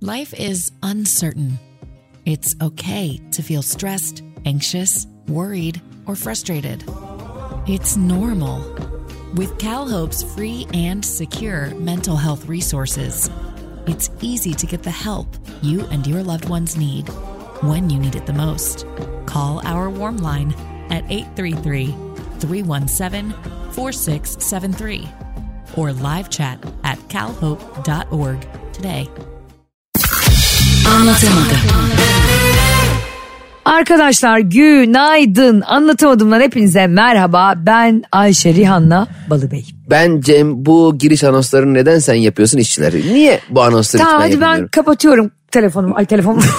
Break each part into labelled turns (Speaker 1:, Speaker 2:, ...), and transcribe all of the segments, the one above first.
Speaker 1: Life is uncertain. It's okay to feel stressed, anxious, worried, or frustrated. It's normal. With CalHope's free and secure mental health resources, it's easy to get the help you and your loved ones need when you need it the most. Call our warm line at 833 317 4673 or live chat at calhope.org today. Anlatamadım.
Speaker 2: Arkadaşlar günaydın. Anlatamadımdan hepinize merhaba. Ben Ayşe Rihanna Balıbey.
Speaker 3: Ben Cem bu giriş anonslarını neden sen yapıyorsun işçileri? Niye bu anonsları
Speaker 2: Tamam
Speaker 3: hiç ben
Speaker 2: hadi ben
Speaker 3: yapmıyorum?
Speaker 2: kapatıyorum telefonumu. Ay telefonumu.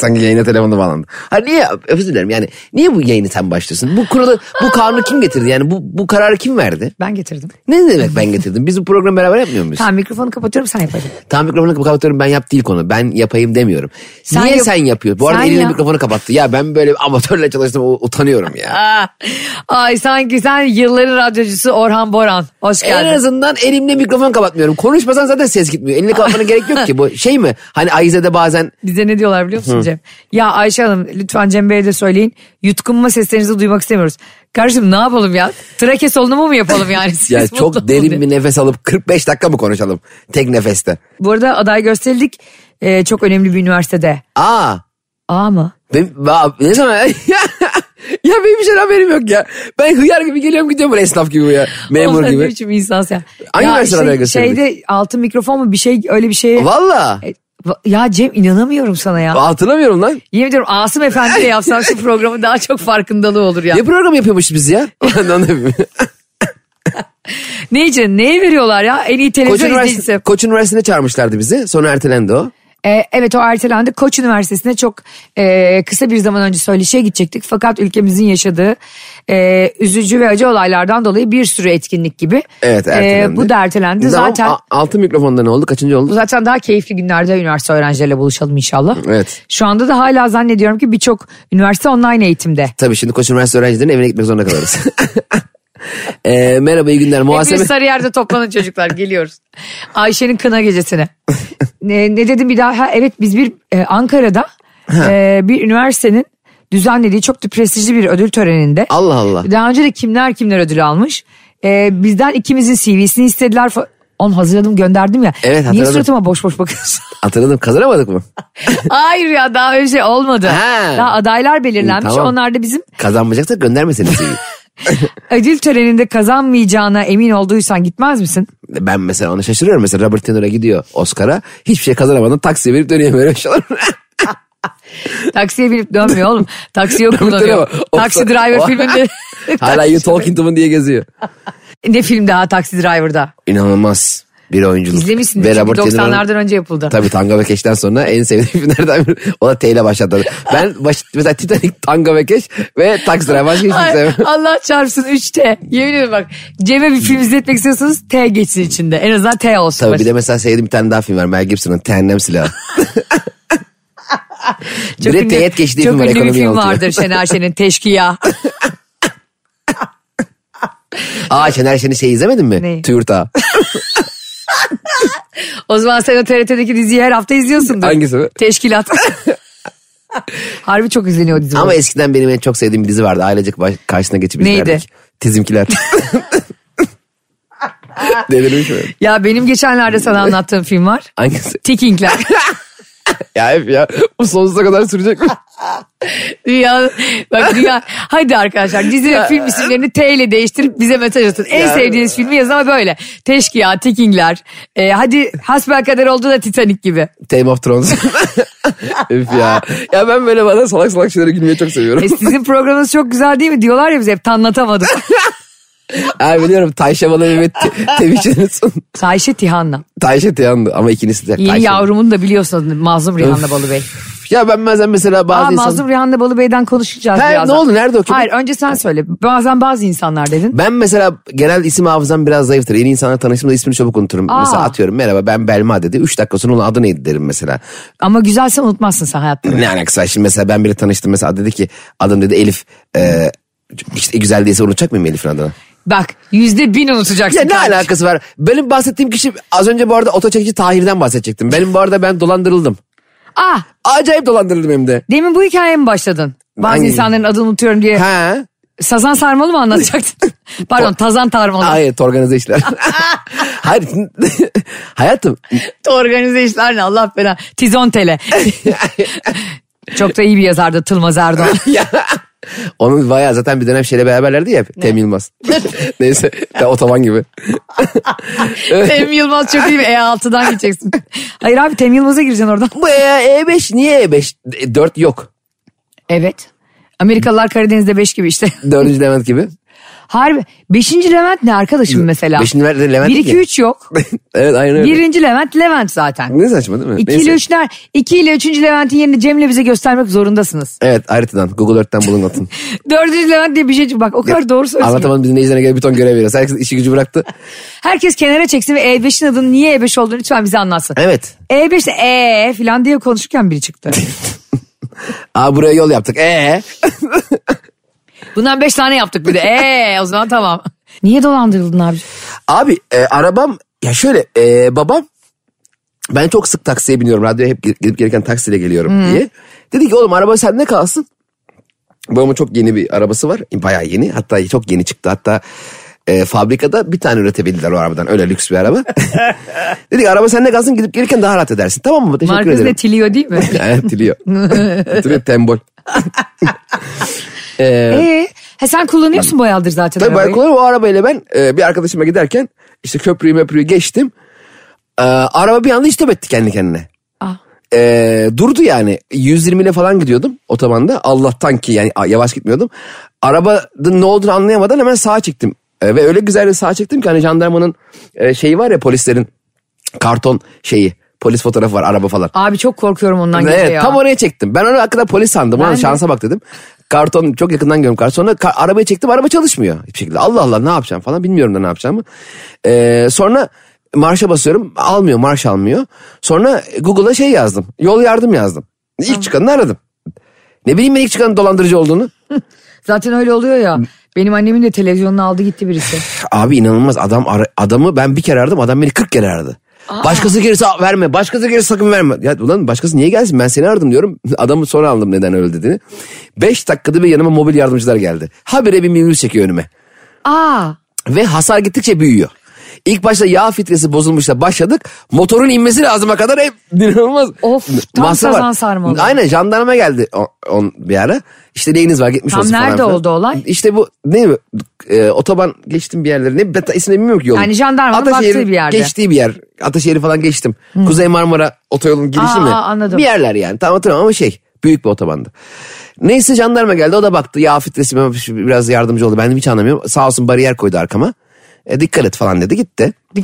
Speaker 3: Sanki yayına telefonla bağlandı. Ha niye özür dilerim yani niye bu yayını sen başlıyorsun? Bu kuralı bu kanunu kim getirdi yani bu, bu kararı kim verdi?
Speaker 2: ben getirdim.
Speaker 3: Ne demek ben getirdim? Biz bu programı beraber yapmıyor muyuz? Tam,
Speaker 2: Tamam mikrofonu kapatıyorum sen yapaydın.
Speaker 3: mikrofonu kapatıyorum ben yap değil konu. Ben yapayım demiyorum.
Speaker 2: Sen
Speaker 3: niye
Speaker 2: yap-
Speaker 3: sen yapıyorsun? Bu arada
Speaker 2: Sen
Speaker 3: elinde
Speaker 2: yap.
Speaker 3: mikrofonu kapattı. Ya ben böyle amatörle çalıştım u- utanıyorum ya.
Speaker 2: Ay sanki sen yılların radyocusu Orhan Boran. Hoş
Speaker 3: En
Speaker 2: geldin.
Speaker 3: azından elimle mikrofon kapatmıyorum. Konuşmasan zaten ses gitmiyor. Elini kapatmana gerek yok ki. Bu şey mi? Hani Ayize'de bazen
Speaker 2: Bize ne diyorlar biliyor musun Cem? Ya Ayşe Hanım lütfen Cem Bey'e de söyleyin. Yutkunma seslerinizi duymak istemiyoruz. Kardeşim ne yapalım ya? Trake solunumu mu yapalım yani? Siz
Speaker 3: Ya
Speaker 2: mutlu
Speaker 3: çok
Speaker 2: olun
Speaker 3: derin
Speaker 2: diye.
Speaker 3: bir nefes alıp 45 dakika mı konuşalım tek nefeste?
Speaker 2: Bu arada aday gösterildik. Ee, çok önemli bir üniversitede.
Speaker 3: Aa
Speaker 2: A mı?
Speaker 3: ben, ba- ne zaman ya benim bir şeyden haberim yok ya. Ben hıyar gibi geliyorum gidiyorum böyle esnaf gibi ya. Memur
Speaker 2: Oğlum sen Ne
Speaker 3: gibi.
Speaker 2: biçim insansın ya.
Speaker 3: Hangi
Speaker 2: Ya şey,
Speaker 3: üniversitede aday gösterildik?
Speaker 2: Şeyde altın mikrofon mu bir şey öyle bir şey.
Speaker 3: Valla
Speaker 2: E, va- Ya Cem inanamıyorum sana ya.
Speaker 3: hatırlamıyorum lan.
Speaker 2: Yemin ediyorum Asım Efendi de yapsan şu programın daha çok farkındalığı olur ya.
Speaker 3: Ne program yapıyormuş biz ya? Ondan da bilmiyorum.
Speaker 2: Ne için? Neye veriyorlar ya? En iyi
Speaker 3: Koç,
Speaker 2: televizyon
Speaker 3: Üniversitesi,
Speaker 2: izleyicisi.
Speaker 3: Koç Üniversitesi'ne çağırmışlardı bizi. Sonra ertelendi o.
Speaker 2: E, evet o ertelendi. Koç Üniversitesi'ne çok e, kısa bir zaman önce söyleşiye gidecektik. Fakat ülkemizin yaşadığı e, üzücü ve acı olaylardan dolayı bir sürü etkinlik gibi.
Speaker 3: Evet
Speaker 2: E,
Speaker 3: ertelendi.
Speaker 2: bu da ertelendi.
Speaker 3: Tamam,
Speaker 2: Zaten
Speaker 3: a- altı mikrofonda ne oldu? Kaçıncı oldu?
Speaker 2: zaten daha keyifli günlerde üniversite öğrencileriyle buluşalım inşallah.
Speaker 3: Evet.
Speaker 2: Şu anda da hala zannediyorum ki birçok üniversite online eğitimde.
Speaker 3: Tabii şimdi Koç Üniversitesi öğrencilerinin evine gitmek zorunda kalırız. Eee merhaba iyi günler. Muhasebe...
Speaker 2: Hepimiz sarı yerde toplanın çocuklar geliyoruz. Ayşe'nin kına gecesine. ne, ne dedim bir daha? Ha, evet biz bir e, Ankara'da e, bir üniversitenin düzenlediği çok da prestijli bir ödül töreninde.
Speaker 3: Allah Allah.
Speaker 2: Daha önce de kimler kimler ödül almış. E, bizden ikimizin CV'sini istediler. fa- Onu hazırladım gönderdim ya.
Speaker 3: Evet,
Speaker 2: Niye
Speaker 3: hatırladım.
Speaker 2: suratıma boş boş bakıyorsun?
Speaker 3: Hatırladım kazanamadık mı?
Speaker 2: Hayır ya daha öyle şey olmadı.
Speaker 3: Ha.
Speaker 2: Daha adaylar belirlenmiş.
Speaker 3: İyi, tamam.
Speaker 2: Onlar da bizim
Speaker 3: Kazanmayacaksa göndermeseniz iyi.
Speaker 2: ödül töreninde kazanmayacağına emin olduysan gitmez misin?
Speaker 3: Ben mesela ona şaşırıyorum. Mesela Robert De Niro'ya gidiyor Oscar'a. Hiçbir şey kazanamadan taksiye verip dönüyor böyle şey olur.
Speaker 2: Taksiye binip dönmüyor oğlum. Taksiyi o kullanıyor.
Speaker 3: Tabii, tabii.
Speaker 2: Taksi Driver
Speaker 3: O-
Speaker 2: filminde.
Speaker 3: Hala You Talking to Me diye geziyor.
Speaker 2: ne film daha Taksi Driver'da?
Speaker 3: İnanılmaz bir oyunculuk.
Speaker 2: İzlemişsin.
Speaker 3: Ve
Speaker 2: Çünkü
Speaker 3: Robert De Niro'nun-
Speaker 2: 90'lardan önce yapıldı.
Speaker 3: Tabii Tango ve Keş'ten sonra en sevdiğim filmlerden biri. O da T ile başladı. Ben baş, mesela Titanic, Tango ve Keş ve Taksi Driver. Başka hiçbir şey
Speaker 2: Ay,
Speaker 3: sevmem.
Speaker 2: Allah çarpsın 3T. Yemin ederim bak. Cem'e bir film izletmek istiyorsanız T geçsin içinde. En azından T olsun.
Speaker 3: Tabii bir de mesela sevdiğim bir tane daha film var. Mel Gibson'ın Tehennem Silahı. bir de teğet geçtiği
Speaker 2: çok
Speaker 3: film var.
Speaker 2: ünlü bir
Speaker 3: ekonomi
Speaker 2: film
Speaker 3: anlatıyor.
Speaker 2: vardır Şener Şen'in Teşkiya.
Speaker 3: Aa Şener Şen'i şey izlemedin mi?
Speaker 2: Neyi?
Speaker 3: Tüğürt Ağa.
Speaker 2: o zaman sen o TRT'deki diziyi her hafta izliyorsundur.
Speaker 3: Hangisi bu?
Speaker 2: Teşkilat. Harbi çok izleniyor o dizi. bu
Speaker 3: Ama eskiden benim en çok sevdiğim bir dizi vardı. Ailecek baş- karşısına geçip
Speaker 2: Neydi?
Speaker 3: izlerdik. Tizimkiler. Delirmiş mi?
Speaker 2: Ya benim geçenlerde sana anlattığım film var.
Speaker 3: Hangisi?
Speaker 2: Tikingler.
Speaker 3: Ya hep ya. Bu sonsuza kadar sürecek mi?
Speaker 2: dünya, bak dünya. Hadi arkadaşlar dizi ve film isimlerini T ile değiştirip bize mesaj atın. En sevdiğiniz filmi yazın ama böyle. Teşkiya, Tikingler. E, hadi hasbelkader oldu da Titanic gibi.
Speaker 3: Game of Thrones. Üf ya. Ya ben böyle bazen salak salak şeylere gülmeyi çok seviyorum.
Speaker 2: E, sizin programınız çok güzel değil mi? Diyorlar ya bize hep tanlatamadım.
Speaker 3: Ha biliyorum Tayşe bana Mehmet Te- Tevişe'nin son.
Speaker 2: Sayşe Tihan'la.
Speaker 3: Tayşe Tiyan'dı ama ikincisi de
Speaker 2: Yeni
Speaker 3: Tayşe.
Speaker 2: yavrumun da biliyorsun adını. Mazlum Rihanna Balıbey.
Speaker 3: Ya ben bazen mesela bazı
Speaker 2: Aa,
Speaker 3: insan...
Speaker 2: Mazlum Rihanna Balıbey'den konuşacağız
Speaker 3: Ha,
Speaker 2: birazdan.
Speaker 3: ne oldu? Nerede o kim?
Speaker 2: Hayır önce sen söyle. Bazen bazı insanlar dedin.
Speaker 3: Ben mesela genel isim hafızam biraz zayıftır. Yeni insanla tanıştığımda ismini çabuk unuturum.
Speaker 2: Aa.
Speaker 3: Mesela atıyorum merhaba ben Belma dedi. Üç dakika sonra onun adı neydi derim mesela.
Speaker 2: Ama güzelse unutmazsın sen hayatta.
Speaker 3: ne alakası var şimdi mesela ben biri tanıştım mesela dedi ki adım dedi Elif e, işte güzel değilse unutacak mıyım Elif'in adını?
Speaker 2: Bak yüzde bin unutacaksın.
Speaker 3: Ya ne
Speaker 2: kardeşim.
Speaker 3: alakası var? Benim bahsettiğim kişi az önce bu arada otoçekici Tahir'den bahsedecektim. Benim bu arada ben dolandırıldım.
Speaker 2: Ah
Speaker 3: Acayip dolandırıldım hem de.
Speaker 2: demin bu hikayeye mi başladın? Bazı
Speaker 3: Hangi?
Speaker 2: insanların adını unutuyorum diye.
Speaker 3: Ha?
Speaker 2: Sazan sarmalı mı anlatacaktın? Pardon tazan tarmalı.
Speaker 3: Hayır organize işler. Hayır. Hayatım.
Speaker 2: Organize işler ne Allah fena. Tizontele. Çok da iyi bir yazardı Tılmaz Erdoğan.
Speaker 3: ya. Onun bayağı zaten bir dönem şeyle beraberlerdi ya. Tem Yılmaz. Neyse. de otoban gibi.
Speaker 2: Tem Yılmaz çok iyi bir E6'dan gideceksin. Hayır abi Tem Yılmaz'a gireceksin oradan.
Speaker 3: Bu E- E5 niye E5? 4 yok.
Speaker 2: Evet. Amerikalılar Karadeniz'de 5 gibi işte.
Speaker 3: 4. Levent gibi.
Speaker 2: Harbi. 5. Levent ne arkadaşım mesela?
Speaker 3: Beşinci Levent de Levent
Speaker 2: 1,
Speaker 3: değil
Speaker 2: 2,
Speaker 3: ya.
Speaker 2: 3 yok.
Speaker 3: evet aynen öyle.
Speaker 2: 1. Levent Levent zaten.
Speaker 3: Ne saçma değil mi?
Speaker 2: 2
Speaker 3: Neyse.
Speaker 2: ile 3'ler 2 ile 3. Levent'in yerini Cem'le bize göstermek zorundasınız.
Speaker 3: Evet haritadan. Google Earth'ten bulun atın.
Speaker 2: 4. Levent diye bir şey bak o kadar doğru söylüyorsun.
Speaker 3: Anlatamadım bizim dinleyicilere göre bir ton görev veriyoruz. Herkes işi gücü bıraktı.
Speaker 2: Herkes kenara çeksin ve E5'in adının niye E5 olduğunu lütfen bize anlatsın.
Speaker 3: Evet.
Speaker 2: E5 de E falan diye konuşurken biri çıktı.
Speaker 3: Aa buraya yol yaptık. Ee.
Speaker 2: Bundan 5 tane yaptık bir de. E o zaman tamam. Niye dolandırıldın abi?
Speaker 3: Abi e, arabam ya şöyle e, babam ben çok sık taksiye biniyorum. Radyoya hep gidip gelirken taksiyle geliyorum diye. Dedi ki oğlum araba sende kalsın. Babamın çok yeni bir arabası var. Bayağı yeni. Hatta çok yeni çıktı. Hatta e, fabrikada bir tane üretebildiler o arabadan. Öyle lüks bir araba. Dedi ki araba sende kalsın gidip gelirken daha rahat edersin. Tamam mı? Teşekkür
Speaker 2: Markası ne
Speaker 3: ederim.
Speaker 2: Tilio değil mi?
Speaker 3: Evet biliyor. Biliyor, tembol.
Speaker 2: Ee, he sen kullanıyorsun bu ayaldır zaten
Speaker 3: Tabii
Speaker 2: arabayı.
Speaker 3: Baykulları o arabayla ben e, bir arkadaşıma giderken işte köprüyü möprüyü geçtim. E, araba bir anda istop etti kendi kendine.
Speaker 2: Ah.
Speaker 3: E, durdu yani 120 ile falan gidiyordum otobanda. Allah'tan ki yani a, yavaş gitmiyordum. Arabanın ne olduğunu anlayamadan hemen sağa çektim. E, ve öyle güzel bir sağa çektim ki hani jandarmanın e, şeyi var ya polislerin karton şeyi. Polis fotoğrafı var araba falan.
Speaker 2: Abi çok korkuyorum ondan gece
Speaker 3: Evet,
Speaker 2: ya.
Speaker 3: tam oraya çektim. Ben onu hakikaten polis sandım. Ulan
Speaker 2: Ben de.
Speaker 3: şansa bak dedim. Karton çok yakından görüyorum karton. Sonra ka- arabayı çektim araba çalışmıyor. Hiçbir şekilde Allah Allah ne yapacağım falan bilmiyorum da ne yapacağımı. Ee, sonra marşa basıyorum almıyor marş almıyor. Sonra Google'a şey yazdım yol yardım yazdım. İlk çıkanını aradım. Ne bileyim ben ilk çıkanın dolandırıcı olduğunu.
Speaker 2: Zaten öyle oluyor ya.
Speaker 3: Hmm.
Speaker 2: Benim annemin de televizyonunu aldı gitti birisi.
Speaker 3: Abi inanılmaz adam ara- adamı ben bir kere aradım adam beni 40 kere aradı. Başkası gelirse verme. Başkası gelirse sakın verme. Ya ulan başkası niye gelsin? Ben seni aradım diyorum. Adamı sonra anladım neden öyle dediğini. 5 dakikada bir yanıma mobil yardımcılar geldi. Habire bir minibüs çekiyor önüme.
Speaker 2: Aa,
Speaker 3: Ve hasar gittikçe büyüyor. İlk başta yağ filtresi bozulmuşla başladık. Motorun inmesi lazıma kadar hep inanılmaz.
Speaker 2: Of, tam
Speaker 3: masraf var.
Speaker 2: sazan sarmalı.
Speaker 3: Aynen jandarma geldi on, on bir ara. İşte neyiniz var gitmiş
Speaker 2: Tam
Speaker 3: olsun falan
Speaker 2: nerede
Speaker 3: filan.
Speaker 2: oldu olay?
Speaker 3: İşte bu ne mi? E, otoban geçtim bir yerlere. Ne beta ismini bilmiyorum ki yolun.
Speaker 2: Yani jandarmanın
Speaker 3: Ataşehir'in
Speaker 2: baktığı bir yerde. Hmm.
Speaker 3: Geçtiği bir yer. Ataşehir'i falan geçtim. Kuzey Marmara otoyolunun girişi
Speaker 2: Aa,
Speaker 3: mi?
Speaker 2: aa, anladım.
Speaker 3: Bir yerler yani. Tam hatırlamıyorum ama şey büyük bir otobanda. Neyse jandarma geldi o da baktı yağ filtresi ben- biraz yardımcı oldu. Ben de hiç anlamıyorum. Sağ olsun bariyer koydu arkama. E, dikkat et falan dedi gitti.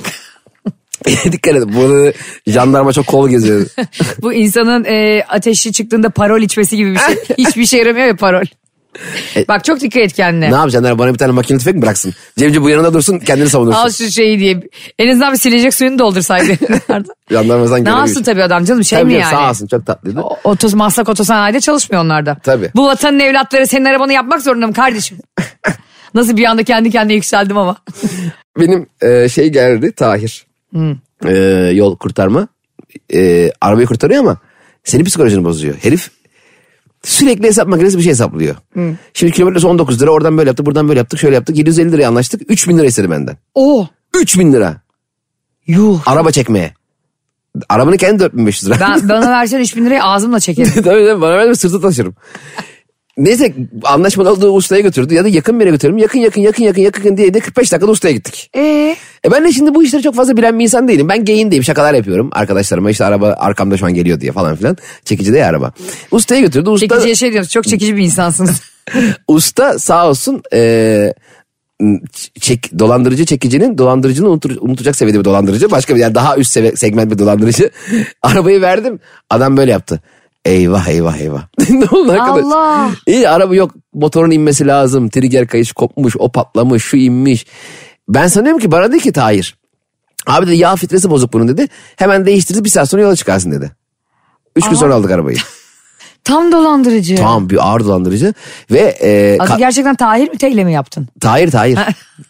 Speaker 3: dikkat et. Burada jandarma çok kol geziyor.
Speaker 2: bu insanın e, ateşi çıktığında parol içmesi gibi bir şey. Hiçbir şey yaramıyor ya parol. Bak çok dikkat et kendine.
Speaker 3: E, ne yapacaksın? Hani Bana bir tane makine tüfek mi bıraksın? Cemci bu yanında dursun kendini savunursun.
Speaker 2: Al şu şeyi diye. En azından bir silecek suyunu doldursaydı.
Speaker 3: Jandarma sanki
Speaker 2: ne
Speaker 3: öyle bir
Speaker 2: yapsın
Speaker 3: şey.
Speaker 2: tabii adam canım şey
Speaker 3: Tabii
Speaker 2: mi
Speaker 3: canım,
Speaker 2: yani?
Speaker 3: Sağ olsun çok tatlıydı.
Speaker 2: O- Otos, maslak otosanayide çalışmıyor onlarda.
Speaker 3: Tabii.
Speaker 2: Bu vatanın evlatları senin arabanı yapmak zorunda mı kardeşim? Nasıl bir anda kendi kendine yükseldim ama.
Speaker 3: benim e, şey geldi Tahir.
Speaker 2: Hmm.
Speaker 3: E, yol kurtarma. E, arabayı kurtarıyor ama senin psikolojini bozuyor. Herif sürekli hesap makinesi bir şey hesaplıyor.
Speaker 2: Hmm.
Speaker 3: Şimdi kilometresi 19 lira oradan böyle yaptık buradan böyle yaptık şöyle yaptık 750 liraya anlaştık 3000 lira istedi benden.
Speaker 2: Oo.
Speaker 3: 3000 lira
Speaker 2: Yuh.
Speaker 3: araba çekmeye. Arabanın kendi 4500 lira.
Speaker 2: Ben, bana versen 3000 lirayı ağzımla çekerim.
Speaker 3: tabii tabii bana verme sırtı taşırım. Neyse anlaşmalı olduğu ustaya götürdü ya da yakın bir yere götürdüm. Yakın yakın yakın yakın yakın diye de 45 dakikada ustaya gittik.
Speaker 2: Ee,
Speaker 3: E ben de şimdi bu işleri çok fazla bilen bir insan değilim. Ben geyiğindeyim şakalar yapıyorum arkadaşlarıma işte araba arkamda şu an geliyor diye falan filan. Çekici de ya araba. Ustaya götürdü. Usta,
Speaker 2: çekiciye şey diyoruz çok çekici bir insansınız.
Speaker 3: usta sağ olsun e, çek, dolandırıcı çekicinin dolandırıcını unutur- unutacak seviyede bir dolandırıcı. Başka bir yani daha üst seve- segment bir dolandırıcı. Arabayı verdim adam böyle yaptı. Eyvah eyvah eyvah. ne oldu arkadaş?
Speaker 2: Allah.
Speaker 3: İyi araba yok motorun inmesi lazım. Trigger kayış kopmuş o patlamış şu inmiş. Ben sanıyorum ki bana dedi ki Tahir. Abi dedi yağ filtresi bozuk bunun dedi. Hemen değiştiririz bir saat sonra yola çıkarsın dedi. Üç gün sonra aldık arabayı.
Speaker 2: Tam dolandırıcı.
Speaker 3: Tam bir ağır dolandırıcı. Ve e,
Speaker 2: Adı
Speaker 3: ka-
Speaker 2: gerçekten Tahir mi Teyle mi yaptın?
Speaker 3: Tahir Tahir.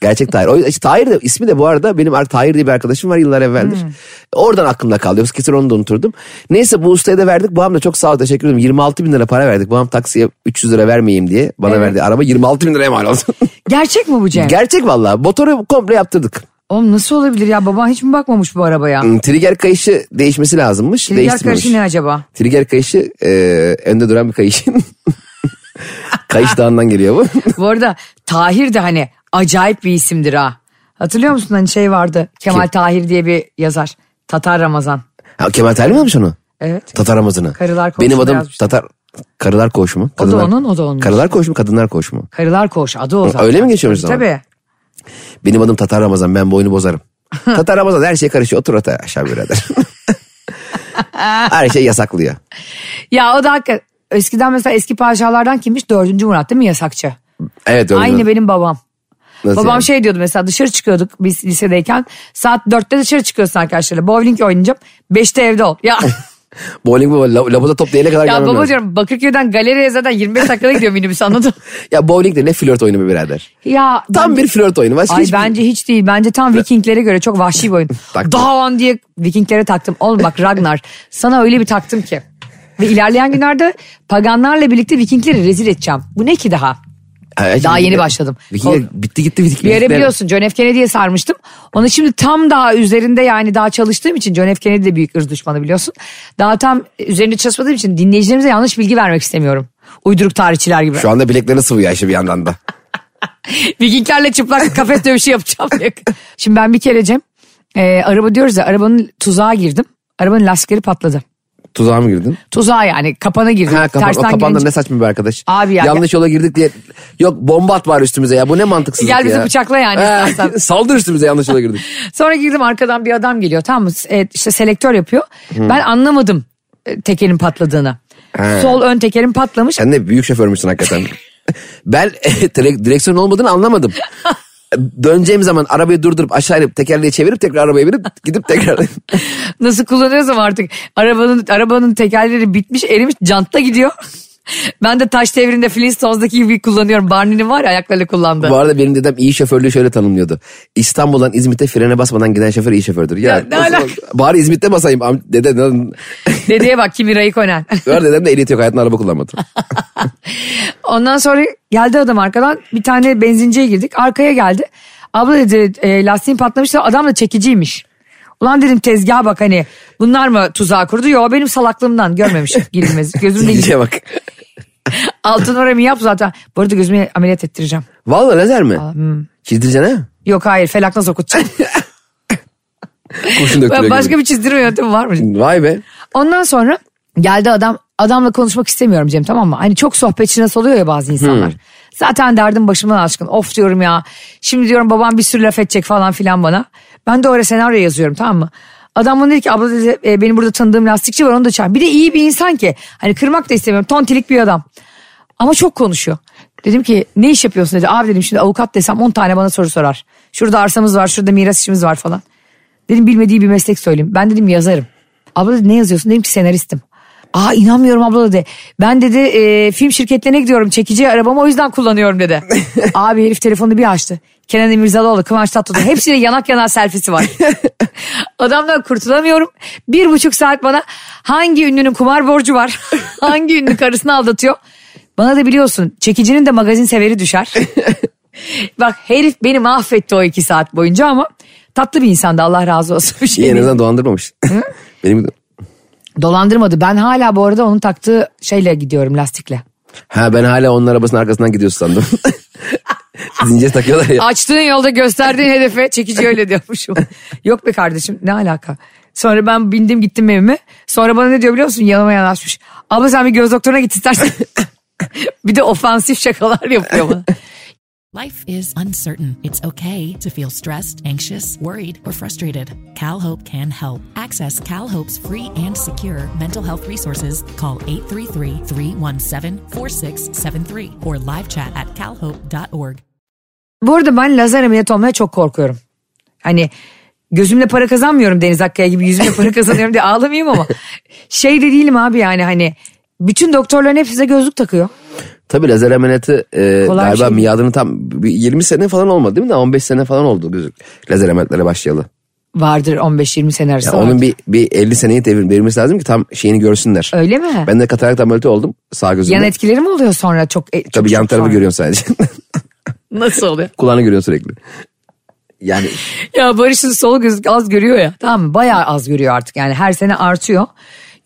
Speaker 3: Gerçek Tahir. O, işte, Tahir de ismi de bu arada benim ar- Tahir diye bir arkadaşım var yıllar evveldir.
Speaker 2: Hmm.
Speaker 3: Oradan aklımda kaldı. Yoksa kesin onu da unuturdum. Neyse bu ustaya da verdik. Babam da çok sağ ol teşekkür ederim. 26 bin lira para verdik. Babam taksiye 300 lira vermeyeyim diye bana
Speaker 2: Evet.
Speaker 3: verdi. Araba 26 bin liraya mal oldu.
Speaker 2: Gerçek mi bu Cem?
Speaker 3: Gerçek valla. Motoru komple yaptırdık.
Speaker 2: Oğlum nasıl olabilir ya baban hiç mi bakmamış bu arabaya?
Speaker 3: Hmm, Trigger kayışı değişmesi lazımmış.
Speaker 2: Trigger
Speaker 3: Değiştirmemiş.
Speaker 2: karşı ne acaba?
Speaker 3: Trigger kayışı e, önde duran bir kayışın. Kayış dağından geliyor bu.
Speaker 2: bu arada Tahir de hani acayip bir isimdir ha. Hatırlıyor musun hani şey vardı Kemal
Speaker 3: Kim?
Speaker 2: Tahir diye bir yazar. Tatar Ramazan.
Speaker 3: Ha, Kemal Tahir mi almış onu?
Speaker 2: Evet.
Speaker 3: Tatar Ramazan'ı.
Speaker 2: Karılar Koğuşu'nda
Speaker 3: Benim adım
Speaker 2: yazmış.
Speaker 3: Tatar. Karılar koşu mu?
Speaker 2: da onun, o da onun.
Speaker 3: Karılar koşu mu, kadınlar koşu mu?
Speaker 2: Karılar Koğuş adı o zaten.
Speaker 3: Öyle mi geçiyormuş zaman?
Speaker 2: Tabii.
Speaker 3: Benim adım Tatar Ramazan, ben bu oyunu bozarım. Tatar Ramazan her şeye karışıyor, otur ata aşağı birader. her şey yasaklıyor.
Speaker 2: Ya o da hakikaten eskiden mesela eski padişahlardan kimmiş? Dördüncü Murat değil mi yasakçı?
Speaker 3: Evet öyle.
Speaker 2: Aynı benim babam.
Speaker 3: Nasıl
Speaker 2: Babam
Speaker 3: yani?
Speaker 2: şey diyordu mesela dışarı çıkıyorduk biz lisedeyken. Saat dörtte dışarı çıkıyorsun arkadaşlarla. Bowling oynayacağım. Beşte evde ol. Ya,
Speaker 3: Bowling bu, la- labuda top değene kadar
Speaker 2: ya
Speaker 3: gelmem
Speaker 2: baba
Speaker 3: lazım.
Speaker 2: diyorum Bakırköy'den galeriye zaten 25 dakikada gidiyor minibüs anladın mı?
Speaker 3: Ya bowling de ne flört oyunu be birader.
Speaker 2: Ya
Speaker 3: Tam
Speaker 2: bence-
Speaker 3: bir flört oyunu. Başka
Speaker 2: Ay
Speaker 3: hiçbir-
Speaker 2: bence hiç değil. Bence tam Vikinglere göre çok vahşi bir oyun.
Speaker 3: Taktım.
Speaker 2: Davan diye Vikinglere taktım. Oğlum bak Ragnar sana öyle bir taktım ki. Ve ilerleyen günlerde paganlarla birlikte Vikingleri rezil edeceğim. Bu ne ki daha?
Speaker 3: Ha,
Speaker 2: Daha
Speaker 3: şimdi-
Speaker 2: yeni başladım.
Speaker 3: Vikingler bitti gitti. Viking-
Speaker 2: Bir yere
Speaker 3: Vikingler-
Speaker 2: biliyorsun John F. Kennedy'ye sarmıştım. Onu şimdi tam daha üzerinde yani daha çalıştığım için John F. Kennedy de büyük ırz düşmanı biliyorsun. Daha tam üzerinde çalışmadığım için dinleyicilerimize yanlış bilgi vermek istemiyorum. Uyduruk tarihçiler gibi.
Speaker 3: Şu anda bileklerini sıvıyor Ayşe bir yandan da.
Speaker 2: Vikinglerle çıplak kafes dövüşü yapacağım. Şimdi ben bir kere Cem e, araba diyoruz ya arabanın tuzağa girdim. Arabanın lastikleri patladı.
Speaker 3: Tuzağa mı girdin?
Speaker 2: Tuzağa yani kapana girdim.
Speaker 3: Ha kapan, o
Speaker 2: Tersten
Speaker 3: kapan da
Speaker 2: girince-
Speaker 3: ne saçma bir arkadaş.
Speaker 2: Abi ya-
Speaker 3: Yanlış yola girdik diye. Yok bomba at var üstümüze ya. Bu ne mantıksızlık
Speaker 2: Gel
Speaker 3: ya.
Speaker 2: bizi bıçakla yani
Speaker 3: Ha,
Speaker 2: istersen.
Speaker 3: Saldır üstümüze yanlış yola girdik.
Speaker 2: Sonra girdim arkadan bir adam geliyor tamam mı? Evet, işte selektör yapıyor. Ben anlamadım e, tekerin patladığını.
Speaker 3: He.
Speaker 2: Sol ön tekerim patlamış.
Speaker 3: Sen de büyük şoförmüşsün hakikaten. ben eh, direk- direksiyon olmadığını anlamadım. Döneceğim zaman arabayı durdurup aşağı inip tekerleği çevirip tekrar arabaya binip gidip tekrar.
Speaker 2: Nasıl kullanıyorsam artık arabanın arabanın tekerleri bitmiş erimiş jantta gidiyor. ben de taş devrinde Flintstones'daki gibi kullanıyorum. Barney'nin var ya ayaklarıyla kullandı.
Speaker 3: Bu arada benim dedem iyi şoförlüğü şöyle tanımlıyordu. İstanbul'dan İzmit'e frene basmadan giden şoför iyi şofördür. Ya,
Speaker 2: Ya ne
Speaker 3: nasıl-
Speaker 2: alaka?
Speaker 3: Bari İzmit'te basayım. Am- Dede,
Speaker 2: Dedeye bak Kimi Raikkonen.
Speaker 3: Bu arada dedem de ehliyeti yok hayatında araba kullanmadı.
Speaker 2: Ondan sonra geldi adam arkadan bir tane benzinciye girdik arkaya geldi. Abla dedi e, lastiğin patlamışsa adam da çekiciymiş. Ulan dedim tezgaha bak hani bunlar mı tuzağı kurdu? Yo benim salaklığımdan görmemiş girilmez. Gözümde gitti.
Speaker 3: İyice bak.
Speaker 2: Altın oraya yap zaten. Bu arada gözümü ameliyat ettireceğim.
Speaker 3: Vallahi lazer mi?
Speaker 2: hmm.
Speaker 3: Çizdireceksin ha?
Speaker 2: Yok hayır felaknaz okutacağım.
Speaker 3: Kurşun döktürüyor
Speaker 2: Başka
Speaker 3: gibi.
Speaker 2: bir çizdirme yöntemi var mı?
Speaker 3: Vay be.
Speaker 2: Ondan sonra geldi adam adamla konuşmak istemiyorum Cem tamam mı? Hani çok sohbetçi nasıl oluyor ya bazı insanlar. Zaten derdim başımdan aşkın of diyorum ya. Şimdi diyorum babam bir sürü laf edecek falan filan bana. Ben de oraya senaryo yazıyorum tamam mı? Adam bana dedi ki abla dedi e, benim burada tanıdığım lastikçi var onu da çağır. Bir de iyi bir insan ki hani kırmak da istemiyorum tontilik bir adam. Ama çok konuşuyor. Dedim ki ne iş yapıyorsun dedi. Abi dedim şimdi avukat desem 10 tane bana soru sorar. Şurada arsamız var şurada miras işimiz var falan. Dedim bilmediği bir meslek söyleyeyim. Ben dedim yazarım. Abla dedi ne yazıyorsun? Dedim ki senaristim. Aa inanmıyorum abla dedi. Ben dedi e, film şirketlerine gidiyorum. Çekici arabamı o yüzden kullanıyorum dedi. Abi herif telefonu bir açtı. Kenan İmirzalıoğlu, Kıvanç Tatlıtuğ. Hepsinin yanak yana selfie'si var. Adamdan kurtulamıyorum. Bir buçuk saat bana hangi ünlünün kumar borcu var? hangi ünlü karısını aldatıyor? Bana da biliyorsun çekicinin de magazin severi düşer. Bak herif beni mahvetti o iki saat boyunca ama tatlı bir insandı Allah razı olsun. Bir şey
Speaker 3: İyi en
Speaker 2: değil.
Speaker 3: azından dolandırmamış. Benim
Speaker 2: Dolandırmadı. Ben hala bu arada onun taktığı şeyle gidiyorum lastikle.
Speaker 3: Ha ben hala onun arabasının arkasından gidiyorsun sandım. Zincir takıyorlar ya.
Speaker 2: Açtığın yolda gösterdiğin hedefe çekici öyle diyormuşum. Yok be kardeşim ne alaka. Sonra ben bindim gittim evime. Sonra bana ne diyor biliyor musun? Yanıma yanaşmış. Abla sen bir göz doktoruna git istersen. bir de ofansif şakalar yapıyor bana.
Speaker 1: Life is uncertain. It's okay to feel stressed, anxious, worried, or frustrated. CalHope can help. Access CalHope's free and secure mental health resources. Call 833-317-4673 or live chat at calhope.org.
Speaker 2: Bu arada ben lazer ameliyatı olmaya çok korkuyorum. Hani gözümle para kazanmıyorum Deniz Akkaya gibi yüzümle para kazanıyorum diye ağlamayayım ama şey de değilim abi yani hani Bütün doktorların hepsi de gözlük takıyor.
Speaker 3: Tabii lazer ameliyatı e,
Speaker 2: Kolay bir
Speaker 3: galiba
Speaker 2: şey değil.
Speaker 3: miadını tam bir 20 sene falan olmadı değil mi? Daha 15 sene falan oldu gözük lazer ameliyatlara başlayalı.
Speaker 2: Vardır 15-20 sene arası.
Speaker 3: Yani
Speaker 2: vardır.
Speaker 3: onun bir, bir 50 seneyi devir- devirmesi lazım ki tam şeyini görsünler.
Speaker 2: Öyle mi?
Speaker 3: Ben de katarakt ameliyatı oldum sağ gözümde.
Speaker 2: Yan etkileri mi oluyor sonra çok? e, çok
Speaker 3: Tabii yan
Speaker 2: çok
Speaker 3: tarafı
Speaker 2: sonra?
Speaker 3: görüyorsun sadece.
Speaker 2: Nasıl oluyor?
Speaker 3: Kulağını görüyorsun sürekli. Yani
Speaker 2: Ya Barış'ın sol gözlük az görüyor ya. Tamam mı? Bayağı az görüyor artık yani her sene artıyor.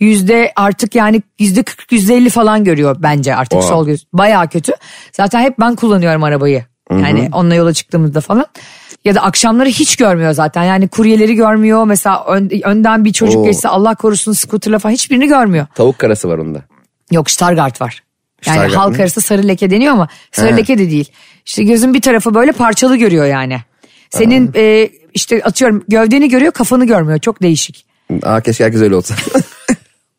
Speaker 2: Yüzde artık yani yüzde 40 yüzde 50 falan görüyor bence artık
Speaker 3: Oha.
Speaker 2: sol göz. Bayağı kötü. Zaten hep ben kullanıyorum arabayı. Yani onunla yola çıktığımızda falan. Ya da akşamları hiç görmüyor zaten. Yani kuryeleri görmüyor. Mesela ön- önden bir çocuk
Speaker 3: Oo.
Speaker 2: geçse Allah korusun skuterla falan hiçbirini görmüyor.
Speaker 3: tavuk karası var onda.
Speaker 2: Yok Stargard var. Yani
Speaker 3: Stargard
Speaker 2: halk
Speaker 3: mı?
Speaker 2: arası sarı leke deniyor ama sarı
Speaker 3: He.
Speaker 2: leke de değil. İşte gözün bir tarafı böyle parçalı görüyor yani. Senin e, işte atıyorum gövdeni görüyor kafanı görmüyor. Çok değişik.
Speaker 3: Aa keşke herkes öyle olsa.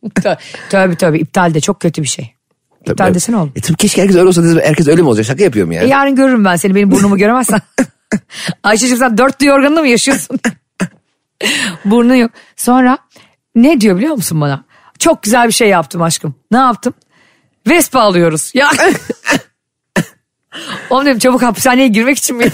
Speaker 2: Tö- tövbe tövbe iptal de çok kötü bir şey. İptal
Speaker 3: Tabii.
Speaker 2: desene oğlum.
Speaker 3: E, tabii keşke herkes öyle olsa. diyeceğim. Herkes öyle mi olacak? Şaka yapıyorum
Speaker 2: E,
Speaker 3: yani.
Speaker 2: yarın görürüm ben seni benim burnumu göremezsen. Ayşe'cim sen dörtlü yorganla mı yaşıyorsun? Burnu yok. Sonra ne diyor biliyor musun bana? Çok güzel bir şey yaptım aşkım. Ne yaptım? Vespa alıyoruz. Ya. Oğlum dedim çabuk hapishaneye girmek için mi?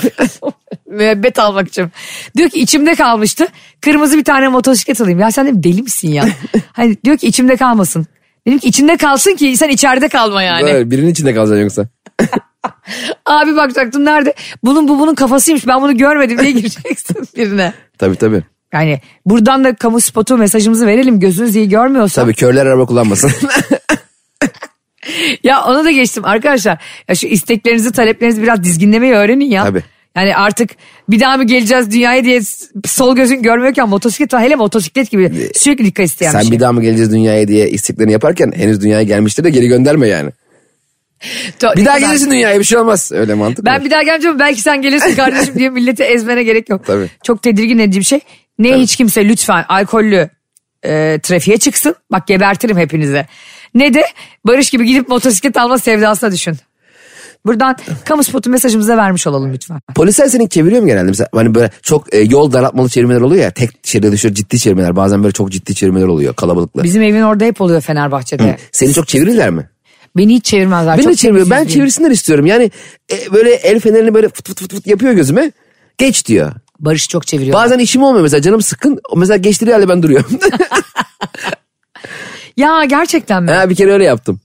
Speaker 2: Müebbet almak için. Diyor ki içimde kalmıştı. Kırmızı bir tane motosiklet alayım. Ya sen dedim deli misin ya? hani diyor ki içimde kalmasın. Dedim ki içinde kalsın ki sen içeride kalma yani.
Speaker 3: Böyle birinin içinde kalacaksın yoksa.
Speaker 2: Abi bakacaktım nerede? Bunun bu bunun kafasıymış ben bunu görmedim diye gireceksin birine.
Speaker 3: Tabii tabii.
Speaker 2: Yani buradan da kamu spotu mesajımızı verelim gözünüz iyi görmüyorsa.
Speaker 3: Tabii körler araba kullanmasın.
Speaker 2: Ya onu da geçtim arkadaşlar. Ya şu isteklerinizi taleplerinizi biraz dizginlemeyi öğrenin ya.
Speaker 3: Tabii.
Speaker 2: Yani artık bir daha mı geleceğiz dünyaya diye s- sol gözün görmüyorken motosiklet var. Hele motosiklet gibi sürekli dikkat isteyen
Speaker 3: Ee, Sen
Speaker 2: bir şey.
Speaker 3: bir daha mı geleceğiz dünyaya diye isteklerini yaparken henüz dünyaya gelmiştir de geri gönderme yani.
Speaker 2: To-
Speaker 3: Bir daha
Speaker 2: ne kadar-
Speaker 3: gelirsin dünyaya bir şey olmaz. Öyle mantık
Speaker 2: Ben
Speaker 3: mı?
Speaker 2: bir daha geleceğim belki sen gelirsin kardeşim diye milleti ezmene gerek yok.
Speaker 3: Tabii.
Speaker 2: Çok tedirgin edici bir şey. Ne hiç kimse lütfen alkollü e, trafiğe çıksın. Bak gebertirim hepinize. Ne de Barış gibi gidip motosiklet alma sevdasına düşün. Buradan kamu spotu mesajımıza vermiş olalım lütfen.
Speaker 3: Polisler seni çeviriyor mu genelde? Mesela hani böyle çok e, yol daraltmalı çevirmeler oluyor ya. Tek şeride düşüyor ciddi çevirmeler. Bazen böyle çok ciddi çevirmeler oluyor kalabalıklı.
Speaker 2: Bizim evin orada hep oluyor Fenerbahçe'de.
Speaker 3: Seni çok çevirirler mi?
Speaker 2: Beni hiç çevirmezler.
Speaker 3: Beni
Speaker 2: Çok
Speaker 3: de çeviriyor. Ben
Speaker 2: temizliyim.
Speaker 3: çevirsinler istiyorum. Yani e, böyle el fenerini böyle fıt fıt fıt fıt yapıyor gözüme. Geç diyor.
Speaker 2: Barış çok çeviriyor.
Speaker 3: Bazen işim olmuyor mesela canım sıkkın. O Mesela geçtiği halde ben duruyorum.
Speaker 2: Ya gerçekten mi?
Speaker 3: ha, bir kere öyle yaptım.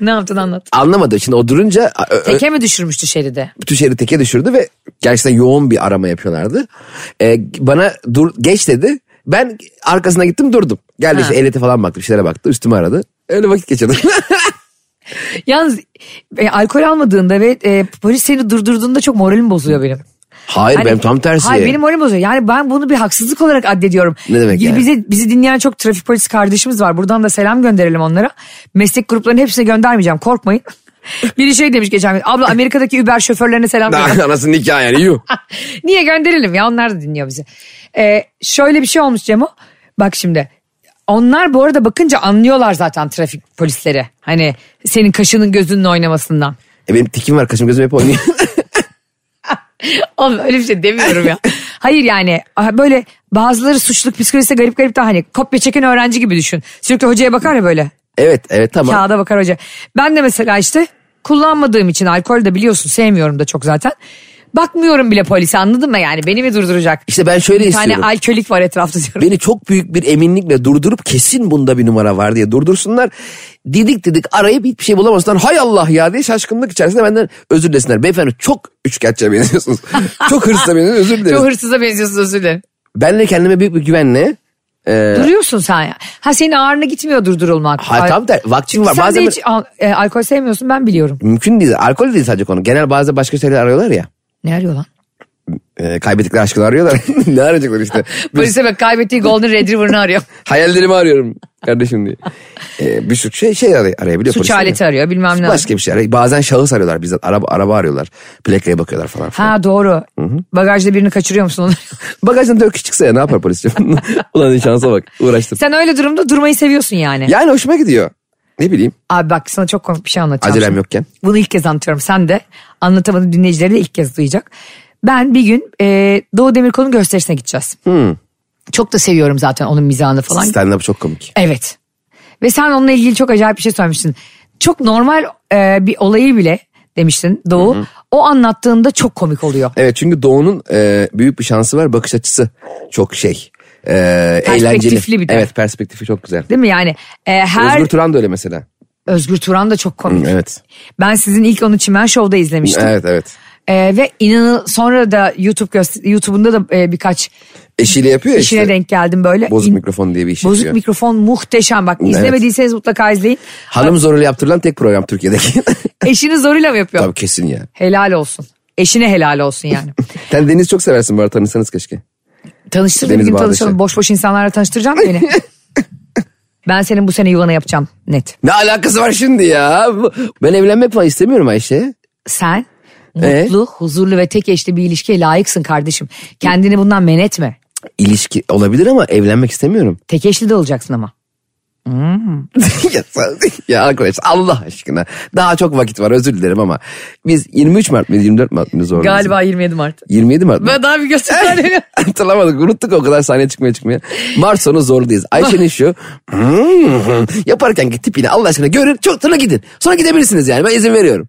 Speaker 2: Ne yaptın anlat.
Speaker 3: Anlamadı. Şimdi o durunca ö- ö-
Speaker 2: Teke mi düşürmüştü şeride?
Speaker 3: bütün şehri teke düşürdü ve gerçekten yoğun bir arama yapıyorlardı. Ee, bana dur geç dedi. Ben arkasına gittim durdum. Geldi işte ehliyete falan baktı bir şeylere baktı üstüme aradı. Öyle vakit geçirdim.
Speaker 2: Yalnız e, alkol almadığında ve e, polis seni durdurduğunda çok moralim bozuluyor benim.
Speaker 3: hayır
Speaker 2: Hani-
Speaker 3: benim tam tersi.
Speaker 2: Hayır benim moralim bozuyor. Yani ben bunu bir haksızlık olarak addediyorum.
Speaker 3: Ne demek yani?
Speaker 2: Bizi, bizi dinleyen çok trafik polisi kardeşimiz var. Buradan da selam gönderelim onlara. Meslek gruplarının hepsine göndermeyeceğim korkmayın. Biri şey demiş geçen gün. Abla Amerika'daki Uber şoförlerine selam gönder.
Speaker 3: Anasının nikahı yani yuh.
Speaker 2: Niye gönderelim ya onlar da dinliyor bizi. Ee, şöyle bir şey olmuş Cemo. Bak şimdi onlar bu arada bakınca anlıyorlar zaten trafik polisleri. Hani senin kaşının gözünün oynamasından.
Speaker 3: E benim tikim var kaşım gözüm hep oynuyor.
Speaker 2: Oğlum öyle bir şey demiyorum ya. Hayır yani böyle bazıları suçluluk psikolojisi garip garip daha hani kopya çeken öğrenci gibi düşün. Sürekli hocaya bakar ya böyle
Speaker 3: evet evet tamam.
Speaker 2: kağıda bakar hoca. Ben de mesela işte kullanmadığım için alkol de biliyorsun sevmiyorum da çok zaten. Bakmıyorum bile polise anladın mı yani beni mi durduracak?
Speaker 3: İşte ben şöyle
Speaker 2: bir
Speaker 3: istiyorum.
Speaker 2: tane alkolik var etrafta diyorum.
Speaker 3: Beni çok büyük bir eminlikle durdurup kesin bunda bir numara var diye durdursunlar. Didik didik arayıp hiçbir şey bulamasınlar. Hay Allah ya diye şaşkınlık içerisinde benden özür dilesinler. Beyefendi çok üçkağıtçıya benziyorsunuz. çok hırsla benziyorsunuz özür dileriz.
Speaker 2: Çok hırsıza benziyorsun özür dilerim.
Speaker 3: Ben de kendime büyük bir güvenle.
Speaker 2: Duruyorsun sen ya. Ha senin ağrına gitmiyor durdurulmak.
Speaker 3: Ee, Ha,
Speaker 2: Ay-
Speaker 3: tam da vaktim var.
Speaker 2: Sen
Speaker 3: Bazen
Speaker 2: de hiç al- e, alkol sevmiyorsun ben biliyorum.
Speaker 3: mümkün değil. Alkol değil sadece konu. Genel bazı başka şeyler arıyorlar ya.
Speaker 2: Ne arıyor lan?
Speaker 3: E, kaybettikleri aşkını arıyorlar. ne arayacaklar işte. Bir-
Speaker 2: Polise bak kaybettiği Golden Retriever'ını arıyor.
Speaker 3: hayallerimi arıyorum kardeşim diye. E, bir sürü şey, şey aray-
Speaker 2: Suç
Speaker 3: arayabiliyor. polis değil mi?
Speaker 2: aleti arıyor bilmem ne.
Speaker 3: Başka bir şey arıyor. Bazen şahıs arıyorlar bizzat. Araba, araba arıyorlar. Plakaya bakıyorlar falan. filan.
Speaker 2: Ha doğru. Bagajda birini kaçırıyor musun onu?
Speaker 3: Bagajdan dört kişi çıksa ya ne yapar polis? Ulan şansa bak. Uğraştım.
Speaker 2: Sen öyle durumda durmayı seviyorsun yani.
Speaker 3: Yani hoşuma gidiyor. Ne bileyim.
Speaker 2: Abi bak sana çok komik bir şey anlatacağım.
Speaker 3: Acelem
Speaker 2: şimdi.
Speaker 3: yokken.
Speaker 2: Bunu ilk kez anlatıyorum. Sen de anlatamadığım dinleyicileri de ilk kez duyacak. Ben bir gün e, Doğu Demirkol'un gösterisine gideceğiz. Çok da seviyorum zaten onun mizahını falan.
Speaker 3: Stand-up çok komik.
Speaker 2: Evet. Ve sen onunla ilgili çok acayip bir şey söylemiştin. Çok normal e, bir olayı bile demiştin Doğu. O anlattığında çok komik oluyor.
Speaker 3: Evet çünkü Doğu'nun e, büyük bir şansı var. Bakış açısı çok şey. E,
Speaker 2: Perspektifli
Speaker 3: eğlenceli.
Speaker 2: bir de.
Speaker 3: Evet perspektifi çok güzel.
Speaker 2: Değil mi yani? e, her
Speaker 3: Özgür Turan da öyle mesela.
Speaker 2: Özgür Turan da çok komik.
Speaker 3: Evet.
Speaker 2: Ben sizin ilk onu Çimen Show'da izlemiştim.
Speaker 3: Evet evet.
Speaker 2: E, ve inanın sonra da YouTube göster- YouTube'unda da e, birkaç
Speaker 3: Eşiyle yapıyor ya
Speaker 2: işine
Speaker 3: işte.
Speaker 2: denk geldim böyle.
Speaker 3: Bozuk
Speaker 2: İn-
Speaker 3: mikrofon diye bir iş
Speaker 2: Bozuk
Speaker 3: yapıyor.
Speaker 2: mikrofon muhteşem bak
Speaker 3: Evet.
Speaker 2: izlemediyseniz mutlaka izleyin.
Speaker 3: Hanım zoruyla yaptırılan tek program Türkiye'deki.
Speaker 2: Eşini zoruyla mı yapıyor?
Speaker 3: Tabii kesin ya.
Speaker 2: Helal olsun. Eşine helal olsun yani.
Speaker 3: Sen Deniz çok seversin bu arada tanısanız keşke.
Speaker 2: Tanıştırdığım
Speaker 3: Deniz
Speaker 2: gün
Speaker 3: Bağdaşı.
Speaker 2: tanışalım. Boş boş insanlarla tanıştıracağım beni. ben senin bu sene yuvana yapacağım net.
Speaker 3: Ne alakası var şimdi ya? Bu- Ben evlenmek falan istemiyorum Ayşe.
Speaker 2: Sen
Speaker 3: Ee?
Speaker 2: mutlu, huzurlu ve tek eşli bir ilişkiye layıksın kardeşim. Kendini bundan men etme.
Speaker 3: İlişki olabilir ama evlenmek istemiyorum.
Speaker 2: Tek eşli de olacaksın ama.
Speaker 3: ya, sen- ya arkadaş Allah aşkına. Daha çok vakit var özür dilerim ama. Biz 23 Mart mıydı 24 Mart mıydı zor.
Speaker 2: 27 Mart.
Speaker 3: 27 Mart mı?
Speaker 2: daha bir göstereyim.
Speaker 3: Hatırlamadık unuttuk o kadar saniye çıkmaya çıkmaya. Mart sonu zorluyuz. Ayşe'nin şu yaparken ki tipini Allah aşkına görün çok sonra gidin. Sonra gidebilirsiniz yani ben izin veriyorum.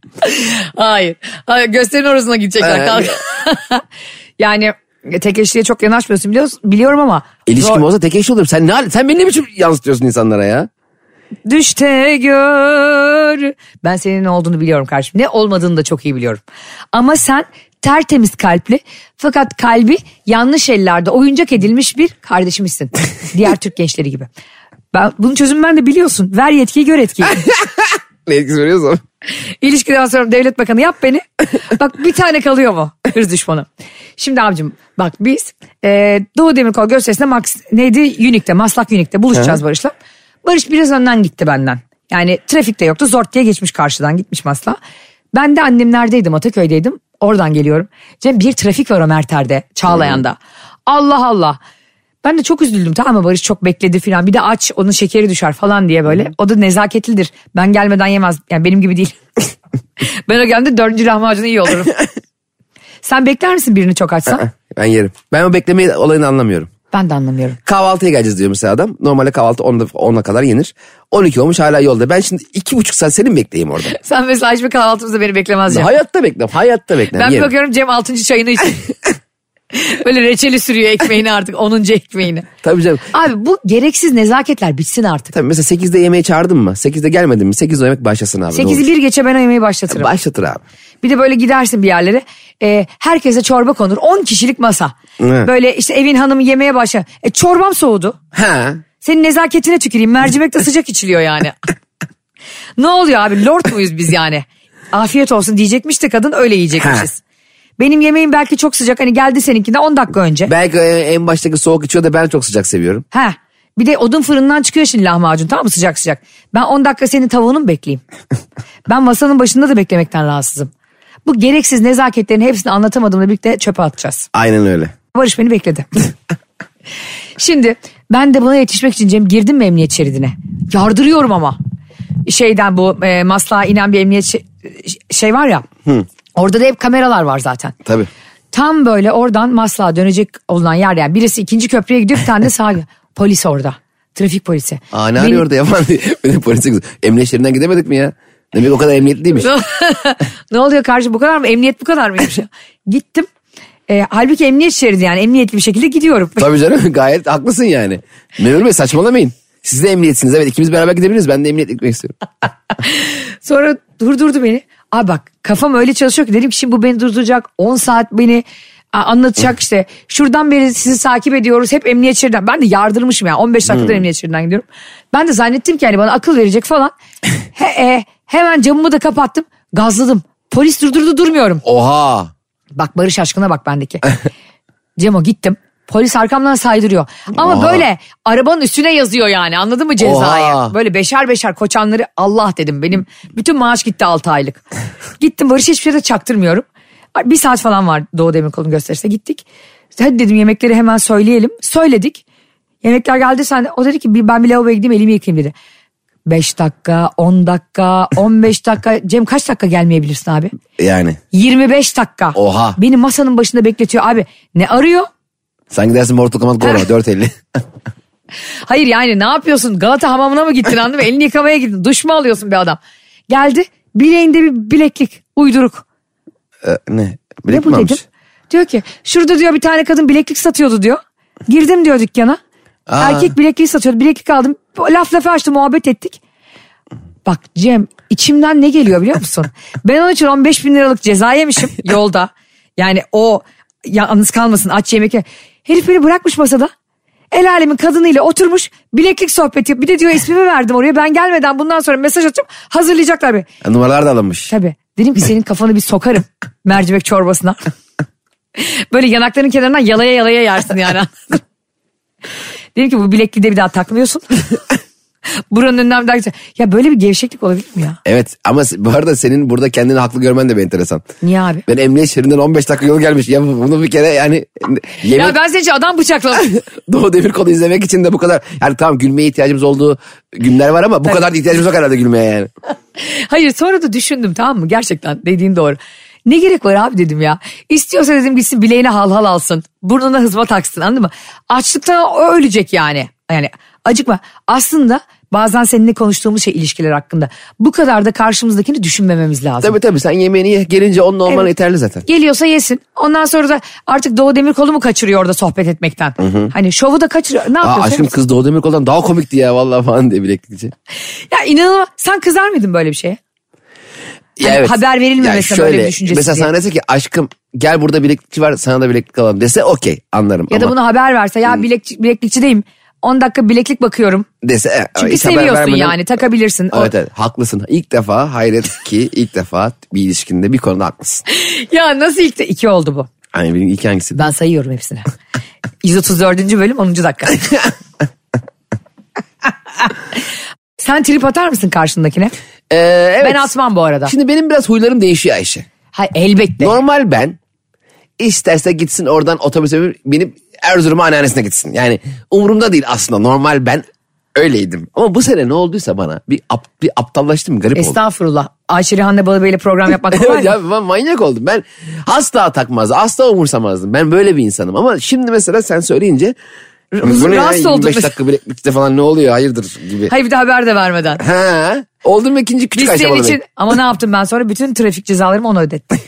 Speaker 2: Hayır. Hayır gösterinin orasına gidecekler.
Speaker 3: Ee,
Speaker 2: kalk. yani tek eşliğe çok yanaşmıyorsun biliyoruz, biliyorum ama.
Speaker 3: İlişkim
Speaker 2: zor-
Speaker 3: olsa tek eşli olurum. Sen ne hal- sen beni ne biçim yansıtıyorsun insanlara ya?
Speaker 2: Düşte gör. Ben senin ne olduğunu biliyorum kardeşim. Ne olmadığını da çok iyi biliyorum. Ama sen tertemiz kalpli fakat kalbi yanlış ellerde oyuncak edilmiş bir kardeşimizsin. Diğer Türk gençleri gibi. Ben, bunun çözümü ben de biliyorsun. Ver yetkiyi gör etkiyi.
Speaker 3: Ne etkisi veriyorsa.
Speaker 2: İlişkiden sonra devlet bakanı yap beni. Bak bir tane kalıyor mu? Hırs düşmanı. Şimdi abicim bak biz e, Doğu Demirkol gösterisinde Max, neydi? Unique'de, Maslak Unique'de buluşacağız Barış'la. Barış biraz önden gitti benden. Yani trafikte yoktu. Zort diye geçmiş karşıdan gitmiş Maslak. Ben de annemlerdeydim Ataköy'deydim. Oradan geliyorum. Cem bir trafik var o Merter'de Çağlayan'da. Allah Allah. Ben de çok üzüldüm tamam mı Barış çok bekledi filan. Bir de aç onun şekeri düşer falan diye böyle. O da nezaketlidir. Ben gelmeden yemez. Yani benim gibi değil. Ben o geldiğimde dördüncü lahmacunu iyi olurum. Sen bekler misin birini çok açsan?
Speaker 3: Ben yerim. Ben o beklemeyi olayını anlamıyorum.
Speaker 2: ben de anlamıyorum.
Speaker 3: Kahvaltıya geleceğiz diyor mesela adam. Normalde kahvaltı 10'da, 10'a kadar yenir. 12 olmuş hala yolda. Ben şimdi iki buçuk saat seni mi bekleyeyim orada?
Speaker 2: Sen mesela hiçbir kahvaltımızda beni beklemez Cem.
Speaker 3: hayatta beklerim. Hayatta beklerim.
Speaker 2: Ben bir
Speaker 3: yerim.
Speaker 2: bakıyorum Cem altıncı çayını içiyor. Böyle reçeli sürüyor ekmeğini artık onuncu ekmeğini.
Speaker 3: Tabii canım.
Speaker 2: Abi bu gereksiz nezaketler bitsin artık.
Speaker 3: Tabii mesela 8'de yemeğe çağırdın mı? 8'de gelmedin mi? 8'de o yemek başlasın abi. ne olur.
Speaker 2: Sekizi bir geçe ben o yemeği başlatırım.
Speaker 3: Başlatır abi.
Speaker 2: Bir de böyle gidersin bir yerlere. E, herkese çorba konur. 10 kişilik masa.
Speaker 3: Evet.
Speaker 2: Böyle işte evin hanımı yemeye başlar. E, çorbam soğudu.
Speaker 3: Ha.
Speaker 2: Senin nezaketine tüküreyim. Mercimek de sıcak içiliyor yani. ne oluyor abi? Lord muyuz biz yani? Afiyet olsun diyecekmiş de kadın öyle yiyecekmişiz. Benim yemeğim belki çok sıcak. Hani geldi seninkinden 10 dakika önce.
Speaker 3: Belki e, en en baştaki soğuk içiyor da ben çok sıcak seviyorum.
Speaker 2: Ha. Bir de odun fırından çıkıyor şimdi lahmacun tamam mı sıcak sıcak. Ben 10 dakika senin tavuğunu mu bekleyeyim? ben masanın başında da beklemekten rahatsızım. Bu gereksiz nezaketlerin hepsini anlatamadığımla birlikte çöpe atacağız.
Speaker 3: Aynen öyle.
Speaker 2: Barış beni bekledi. Şimdi ben de buna yetişmek için Cem girdim mi emniyet şeridine? Yardırıyorum ama. Şeyden bu e, maslağa inen bir emniyet şe- şey var ya. Orada da hep kameralar var zaten.
Speaker 3: Tabii.
Speaker 2: Tam böyle oradan maslağa dönecek olan yer yani birisi ikinci köprüye gidiyor bir tane de sağa polis orada. Trafik polisi.
Speaker 3: Aa ne
Speaker 2: Beni-
Speaker 3: arıyor orada yapan diye. Bir de polise gidiyor. Emniyet şeridinden gidemedik mi ya? Demek o kadar emniyetliymiş.
Speaker 2: ne oluyor karşı bu kadar mı? Emniyet bu kadar mıymış? ya? Gittim. E, halbuki emniyet şeridi yani emniyetli bir şekilde gidiyorum.
Speaker 3: Tabii canım gayet haklısın yani. Memur Bey saçmalamayın. Siz de emniyetsiniz evet ikimiz beraber gidebiliriz. Ben de emniyet gitmek istiyorum.
Speaker 2: Sonra durdurdu beni. Aa bak kafam öyle çalışıyor ki dedim ki şimdi bu beni durduracak 10 saat beni a- anlatacak işte. Şuradan beri sizi takip ediyoruz hep emniyet şeridinden. Ben de yardırmışım yani 15 dakikadır emniyet şeridinden gidiyorum. Ben de zannettim ki hani bana akıl verecek falan. He, e, hemen camımı da kapattım gazladım. Polis durdurdu durmuyorum.
Speaker 3: Oha.
Speaker 2: Bak Barış aşkına bak bendeki. Cemo gittim. Polis arkamdan saydırıyor. Ama
Speaker 3: Oha.
Speaker 2: böyle arabanın üstüne yazıyor yani anladın mı cezayı?
Speaker 3: Oha.
Speaker 2: Böyle beşer beşer koçanları Allah dedim benim. Bütün maaş gitti 6 aylık. gittim Barış hiçbir şey de çaktırmıyorum. Ay, Bir saat falan var Doğu Demirkol'un gösterisine gittik. Hadi dedim yemekleri hemen söyleyelim. Söyledik. Yemekler geldi sen o dedi ki "Bir- ben bir lavaboya gideyim elimi yıkayayım dedi. 5 dakika, 10 dakika, 15 dakika. Cem kaç dakika gelmeyebilirsin abi?
Speaker 3: Yani
Speaker 2: 25 dakika.
Speaker 3: Oha.
Speaker 2: Beni masanın başında bekletiyor abi. Ne arıyor? Ah.
Speaker 3: Ee, sen gidersin mortal command kola 4.50.
Speaker 2: Hayır yani ne yapıyorsun? Galata hamamına mı gittin anladın mı? Elini yıkamaya gittin. Duş mu alıyorsun bir adam? Geldi bileğinde bir bileklik uyduruk.
Speaker 3: Ee, ne?
Speaker 2: Ne
Speaker 3: Bilek mi
Speaker 2: bu dedim?
Speaker 3: almış?
Speaker 2: Diyor ki şurada diyor bir tane kadın bileklik satıyordu diyor. Girdim diyor dükkana.
Speaker 3: Aa.
Speaker 2: Erkek bilekliği satıyordu. Bileklik aldım. Laf lafı açtı muhabbet ettik. Bak Cem içimden ne geliyor biliyor musun? ben onun için 15 bin liralık ceza yemişim yolda. Yani o yalnız kalmasın aç yemek. ye- Herif beni bırakmış masada. El alemin kadınıyla oturmuş bileklik sohbeti. yap- Bir de diyor ismimi verdim oraya. Ben gelmeden bundan sonra mesaj atacağım. Hazırlayacaklar beni.
Speaker 3: Ya, Numaralar da alınmış.
Speaker 2: Tabii. Dedim ki senin kafanı bir sokarım mercimek çorbasına. Böyle yanakların kenarından yalaya yalaya yersin yani. Dedim ki bu bilekliği de bir daha takmıyorsun. Buranın önünden bir daha geçer. Ya böyle bir gevşeklik olabilir mi ya?
Speaker 3: Evet ama se- bu arada senin burada kendini haklı görmen de bir enteresan.
Speaker 2: Niye abi?
Speaker 3: Ben emniyet şeridinden 15 dakika yol gelmiş. Ya bunu bir kere yani yemek
Speaker 2: Ya ben senin için adam bıçakladım.
Speaker 3: Doğu Demirkol'u izlemek için de bu kadar. Yani tamam gülmeye ihtiyacımız olduğu günler var ama bu kadar da ihtiyacımız yok herhalde gülmeye yani.
Speaker 2: Hayır sonra da düşündüm tamam mı? Gerçekten dediğin doğru. Ne gerek var abi dedim ya. İstiyorsa dedim gitsin bileğine halhal alsın. Burnuna hızma taksın anladın mı? Açlıktan o ölecek yani. Yani acıkma. Aslında bazen seninle konuştuğumuz şey ilişkiler hakkında. Bu kadar da karşımızdakini düşünmememiz lazım.
Speaker 3: Tabii tabii sen yemeğini ye. Gelince onun olman
Speaker 2: Evet.
Speaker 3: yeterli zaten.
Speaker 2: Geliyorsa yesin. Ondan sonra da artık Doğu Demirkol'u mu kaçırıyor orada sohbet etmekten? Hani şovu da kaçırıyor. Ne
Speaker 3: Aa,
Speaker 2: yapıyorsun?
Speaker 3: aşkım kız Doğu Demirkol'dan daha komikti ya vallahi falan diye bileklikçi.
Speaker 2: Hani Ya inanılmaz. Sen kızar mıydın böyle bir şeye?
Speaker 3: Ya
Speaker 2: Hani haber verilmemesine böyle bir düşüncesi
Speaker 3: Mesela
Speaker 2: diye.
Speaker 3: sana dese ki aşkım gel burada bileklikçi var sana da bileklik alalım dese okey anlarım.
Speaker 2: Ya da
Speaker 3: ama
Speaker 2: bunu haber verse ya bilekçi, bileklikçideyim. 10 dakika bileklik bakıyorum.
Speaker 3: dese, e,
Speaker 2: Çünkü
Speaker 3: hiç haber
Speaker 2: seviyorsun
Speaker 3: vermeden-
Speaker 2: yani takabilirsin. O-
Speaker 3: Evet evet haklısın. İlk defa hayret ki ilk defa bir ilişkinde bir konuda haklısın.
Speaker 2: Ya nasıl ilk de iki oldu bu.
Speaker 3: Hani benim ilk hangisi?
Speaker 2: Ben sayıyorum hepsini. 134. bölüm 10. dakika. Sen trip atar mısın karşındakine?
Speaker 3: Ee, evet.
Speaker 2: Ben atmam bu arada.
Speaker 3: Şimdi benim biraz huylarım değişiyor Ayşe.
Speaker 2: Ha, elbette.
Speaker 3: Normal ben isterse gitsin oradan otobüse binip Erzurum'a anneannesine gitsin. Yani umurumda değil aslında normal ben öyleydim. Ama bu sene ne olduysa bana bir, ap- bir aptallaştım garip oldum.
Speaker 2: Estağfurullah. Ayşe Rihanna Balıbey'le program yapmak kolay
Speaker 3: Evet
Speaker 2: mı?
Speaker 3: ya ben manyak oldum. Ben asla takmazdım. Asla umursamazdım. Ben böyle bir insanım. Ama şimdi mesela sen söyleyince bu ne ya,
Speaker 2: rahatsız oldum
Speaker 3: 25
Speaker 2: mesela.
Speaker 3: dakika bileklikte falan ne oluyor hayırdır gibi.
Speaker 2: Hayır bir de haber de vermeden.
Speaker 3: Ha, oldum ikinci küçük
Speaker 2: Biz
Speaker 3: Ayşe
Speaker 2: senin
Speaker 3: Balıbey.
Speaker 2: için ama ne yaptım ben sonra bütün trafik cezalarımı ona ödettim.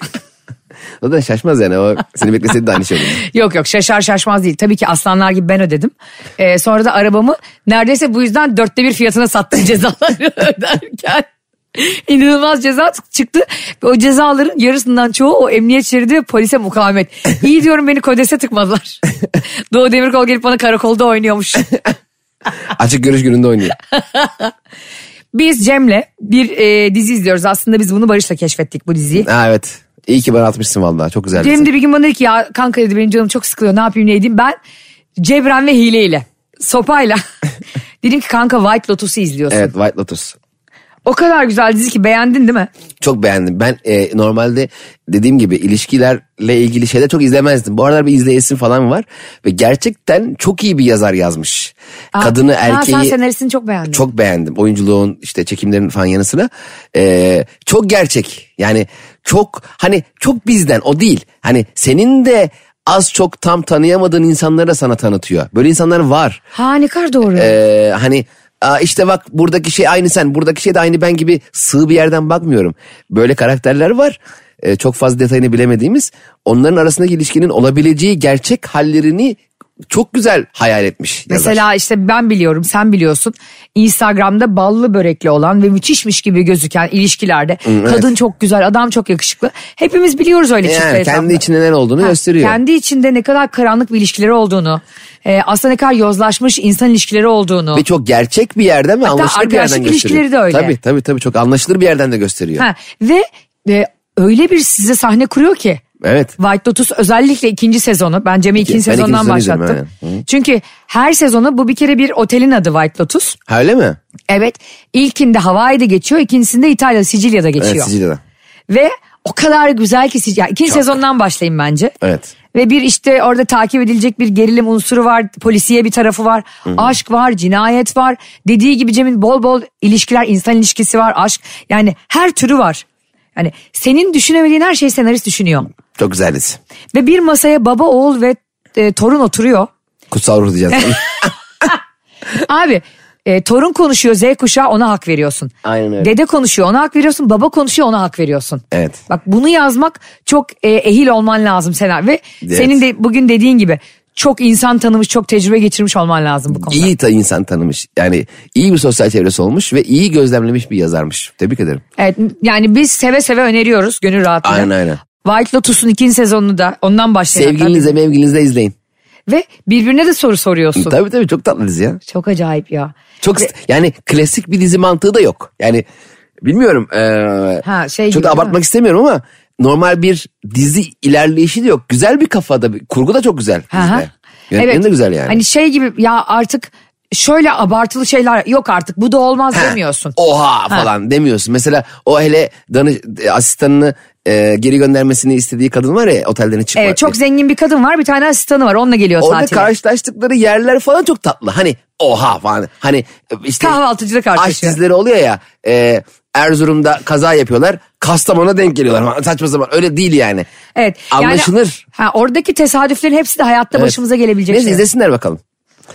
Speaker 3: O da şaşmaz yani. O seni bekleseydi de aynı şey olurdu.
Speaker 2: Yok yok şaşar şaşmaz değil. Tabii ki aslanlar gibi ben ödedim. Ee, sonra da arabamı neredeyse bu yüzden dörtte bir fiyatına sattım cezaları öderken. İnanılmaz ceza çıktı. Ve O cezaların yarısından çoğu o emniyet şeridi ve polise mukavemet. İyi diyorum beni kodese tıkmadılar. Doğu Demirkol gelip bana karakolda oynuyormuş.
Speaker 3: Açık görüş gününde oynuyor.
Speaker 2: Biz Cem'le bir e, dizi izliyoruz. Aslında biz bunu Barış'la keşfettik bu diziyi.
Speaker 3: Ha evet. İyi ki bana atmışsın vallahi. Çok güzel. bir
Speaker 2: Cem
Speaker 3: dizi.
Speaker 2: de bir gün bana dedi ki ya kanka dedi benim canım çok sıkılıyor ne yapayım ne edeyim. Ben Cebren ve hileyle sopayla dedim ki kanka White Lotus'u izliyorsun.
Speaker 3: Evet White Lotus.
Speaker 2: O kadar güzel dizi ki beğendin değil mi?
Speaker 3: Çok beğendim. Ben e, normalde dediğim gibi ilişkilerle ilgili şeyler çok izlemezdim. Bu aralar bir izleyesim falan var. Ve gerçekten çok iyi bir yazar yazmış. Kadını
Speaker 2: Ha, sen
Speaker 3: erkeği
Speaker 2: senaristini çok beğendin.
Speaker 3: çok beğendim. Oyunculuğun işte çekimlerin falan yanı sıra. E, çok gerçek. Yani çok hani çok bizden o değil. Hani senin de az çok tam tanıyamadığın insanları da sana tanıtıyor. Böyle insanlar var.
Speaker 2: Ha ne kadar doğru.
Speaker 3: Ee, hani "Aa, işte bak buradaki şey aynı sen buradaki şey de aynı ben gibi sığ bir yerden bakmıyorum. Böyle karakterler var Ee, çok fazla detayını bilemediğimiz onların arasındaki ilişkinin olabileceği gerçek hallerini çok güzel hayal etmiş. yazar.
Speaker 2: Mesela işte ben biliyorum sen biliyorsun Instagram'da ballı börekli olan ve müthişmiş gibi gözüken ilişkilerde kadın çok güzel adam çok yakışıklı hepimiz biliyoruz öyle çiftler
Speaker 3: yani kendi
Speaker 2: etrafında.
Speaker 3: içinde neler olduğunu
Speaker 2: Ha,
Speaker 3: gösteriyor.
Speaker 2: Kendi içinde ne kadar karanlık bir ilişkileri olduğunu, e, aslında ne kadar yozlaşmış insan ilişkileri olduğunu.
Speaker 3: Ve çok gerçek bir yerden ve anlaşılır bir yerden
Speaker 2: arkadaşlık
Speaker 3: gösteriyor.
Speaker 2: ilişkileri de öyle.
Speaker 3: Tabii tabii tabii çok anlaşılır bir yerden de gösteriyor.
Speaker 2: Ha, ve e, öyle bir size sahne kuruyor ki.
Speaker 3: Evet.
Speaker 2: White Lotus özellikle ikinci sezonu. Ben Cem'i ikinci
Speaker 3: ben
Speaker 2: sezondan
Speaker 3: ikinci sezonu
Speaker 2: başlattım.
Speaker 3: izledim,
Speaker 2: Çünkü her sezonu bu bir kere bir otelin adı White Lotus.
Speaker 3: Ha, öyle mi?
Speaker 2: Evet ilkinde Hawaii'de geçiyor ikincisinde İtalya Sicilya'da geçiyor.
Speaker 3: Evet Sicilya'da.
Speaker 2: Ve o kadar güzel ki siz- ya ikinci sezondan başlayın bence.
Speaker 3: Evet.
Speaker 2: Ve bir işte orada takip edilecek bir gerilim unsuru var. Polisiye bir tarafı var. Aşk var, cinayet var. Dediği gibi Cem'in bol bol ilişkiler, insan ilişkisi var, aşk. Yani her türü var. Yani senin düşünemediğin her şeyi senarist düşünüyor.
Speaker 3: Çok güzel dizi.
Speaker 2: Ve bir masaya baba, oğul ve e, torun oturuyor.
Speaker 3: Kutsal ruh diyeceğiz.
Speaker 2: Abi e, torun konuşuyor Z kuşağı ona hak veriyorsun.
Speaker 3: Aynen öyle.
Speaker 2: Dede konuşuyor ona hak veriyorsun. Baba konuşuyor ona hak veriyorsun.
Speaker 3: Evet.
Speaker 2: Bak bunu yazmak çok e, ehil olman lazım Sena. Ve
Speaker 3: Evet.
Speaker 2: senin de bugün dediğin gibi çok insan tanımış çok tecrübe geçirmiş olman lazım bu konuda.
Speaker 3: İyi ta insan tanımış. Yani iyi bir sosyal çevresi olmuş ve iyi gözlemlemiş bir yazarmış. Tebrik ederim.
Speaker 2: Evet yani biz seve seve öneriyoruz gönül rahatlığıyla.
Speaker 3: Aynen, aynen.
Speaker 2: White Lotus'un ikinci sezonunu da ondan başlayalım.
Speaker 3: Sevgilinizle mevgilinizle izleyin.
Speaker 2: Ve birbirine de soru soruyorsun.
Speaker 3: Tabii tabii çok tatlı dizi ya.
Speaker 2: Çok acayip ya.
Speaker 3: Çok yani klasik bir dizi mantığı da yok. Yani bilmiyorum. eee,
Speaker 2: Ha, şey
Speaker 3: çok
Speaker 2: gibi
Speaker 3: da
Speaker 2: değil
Speaker 3: abartmak
Speaker 2: mi?
Speaker 3: istemiyorum ama normal bir dizi ilerleyişi de yok. Güzel bir kafada. bir- Kurgu da çok güzel.
Speaker 2: Hı hı.
Speaker 3: Dizide. Yönetmeni de güzel yani.
Speaker 2: Hani şey gibi ya artık şöyle abartılı şeyler yok artık bu da olmaz demiyorsun.
Speaker 3: Oha falan demiyorsun. Mesela o hele danış, asistanını eee, geri göndermesini istediği kadın var ya otelden çıkmak.
Speaker 2: Evet, çok zengin bir kadın var bir tane asistanı var onunla geliyor
Speaker 3: e- Orada
Speaker 2: tatile.
Speaker 3: karşılaştıkları yerler falan çok tatlı. Hani oha falan. Hani işte
Speaker 2: Kahvaltıcıda
Speaker 3: aşk
Speaker 2: karşılaşıyor.
Speaker 3: dizileri oluyor ya. E, Erzurum'da kaza yapıyorlar. Kastamonu'na denk geliyorlar. falan. Saçma zaman öyle değil yani.
Speaker 2: Evet. yani-
Speaker 3: Anlaşılır.
Speaker 2: ha, oradaki tesadüflerin hepsi de hayatta başımıza gelebilecek
Speaker 3: Neyse
Speaker 2: şeyler.
Speaker 3: izlesinler bakalım.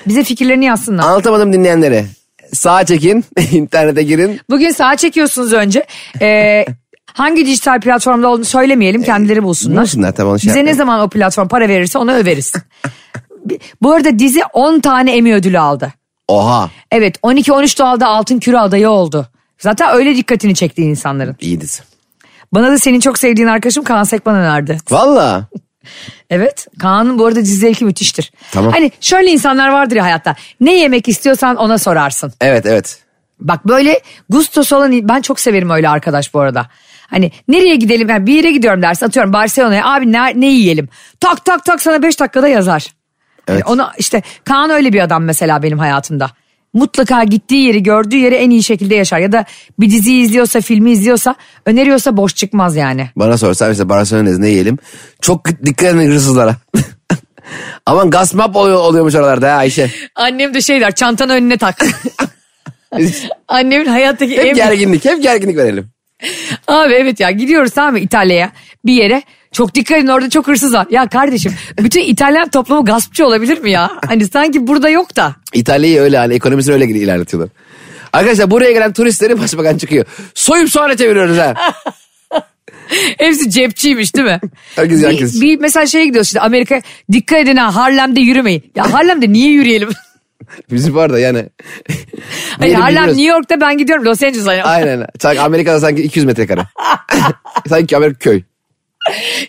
Speaker 2: Bize fikirlerini yazsınlar.
Speaker 3: Anlatamadım dinleyenlere. Sağa çekin, internete girin.
Speaker 2: Bugün sağa çekiyorsunuz önce. Ee, hangi dijital platformda olduğunu söylemeyelim kendileri bulsunlar.
Speaker 3: Ee, bulsunlar, tamam, onu şey
Speaker 2: Bize ne
Speaker 3: yapmayalım.
Speaker 2: zaman o platform para verirse onu överiz. Bi- Bu arada dizi 10 tane Emmy ödülü aldı.
Speaker 3: Oha
Speaker 2: Evet 12-13 doğalda altın küre adayı oldu. Zaten öyle dikkatini çekti insanların.
Speaker 3: iyi dizi.
Speaker 2: Bana da senin çok sevdiğin arkadaşım Kaan Sekman önerdi.
Speaker 3: Valla
Speaker 2: Evet. Kaan'ın bu arada dizi zevki müthiştir.
Speaker 3: Tamam.
Speaker 2: Hani şöyle insanlar vardır ya hayatta. Ne yemek istiyorsan ona sorarsın.
Speaker 3: evet evet.
Speaker 2: Bak böyle gustosu olan ben çok severim öyle arkadaş bu arada. Hani nereye gidelim yani bir yere gidiyorum dersin atıyorum Barcelona'ya abi ne, ne yiyelim. Tak tak tak sana 5 dakikada yazar. Hani
Speaker 3: Evet.
Speaker 2: ona işte Kaan öyle bir adam mesela benim hayatımda. Mutlaka gittiği yeri gördüğü yeri en iyi şekilde yaşar. Ya da bir diziyi izliyorsa filmi izliyorsa öneriyorsa boş çıkmaz yani.
Speaker 3: Bana sorsan işte Barcelona'da ne yiyelim? Çok dikkat edin hırsızlara. Aman gasmap oluyor, oluyormuş oralarda ha Ayşe.
Speaker 2: Annem de şey der çantanı önüne tak. Annemin hayattaki
Speaker 3: Hep
Speaker 2: en
Speaker 3: gerginlik, hep gerginlik verelim.
Speaker 2: Abi evet ya gidiyoruz tamam mı İtalya'ya bir yere. Çok dikkat edin orada çok hırsız var. Ya kardeşim bütün İtalyan toplumu gaspçı olabilir mi ya? Hani sanki burada yok da.
Speaker 3: İtalya'yı öyle hani ekonomisini öyle ilerletiyorlar. Arkadaşlar buraya gelen turistleri başbakan çıkıyor. Soyup soğana çeviriyoruz ha.
Speaker 2: Hepsi cepçiymiş değil mi?
Speaker 3: Herkes
Speaker 2: bir,
Speaker 3: herkes.
Speaker 2: bir mesela şeye gidiyoruz şimdi Amerika dikkat edin ha Harlem'de yürümeyin. Ya Harlem'de niye yürüyelim?
Speaker 3: Bizim bu arada yani.
Speaker 2: Hani
Speaker 3: Diyelim
Speaker 2: Harlem
Speaker 3: bilmiyoruz.
Speaker 2: New York'ta ben gidiyorum Los Angeles'a. Ya.
Speaker 3: Aynen. Sanki Amerika'da sanki 200 metrekare. sanki Amerika köy.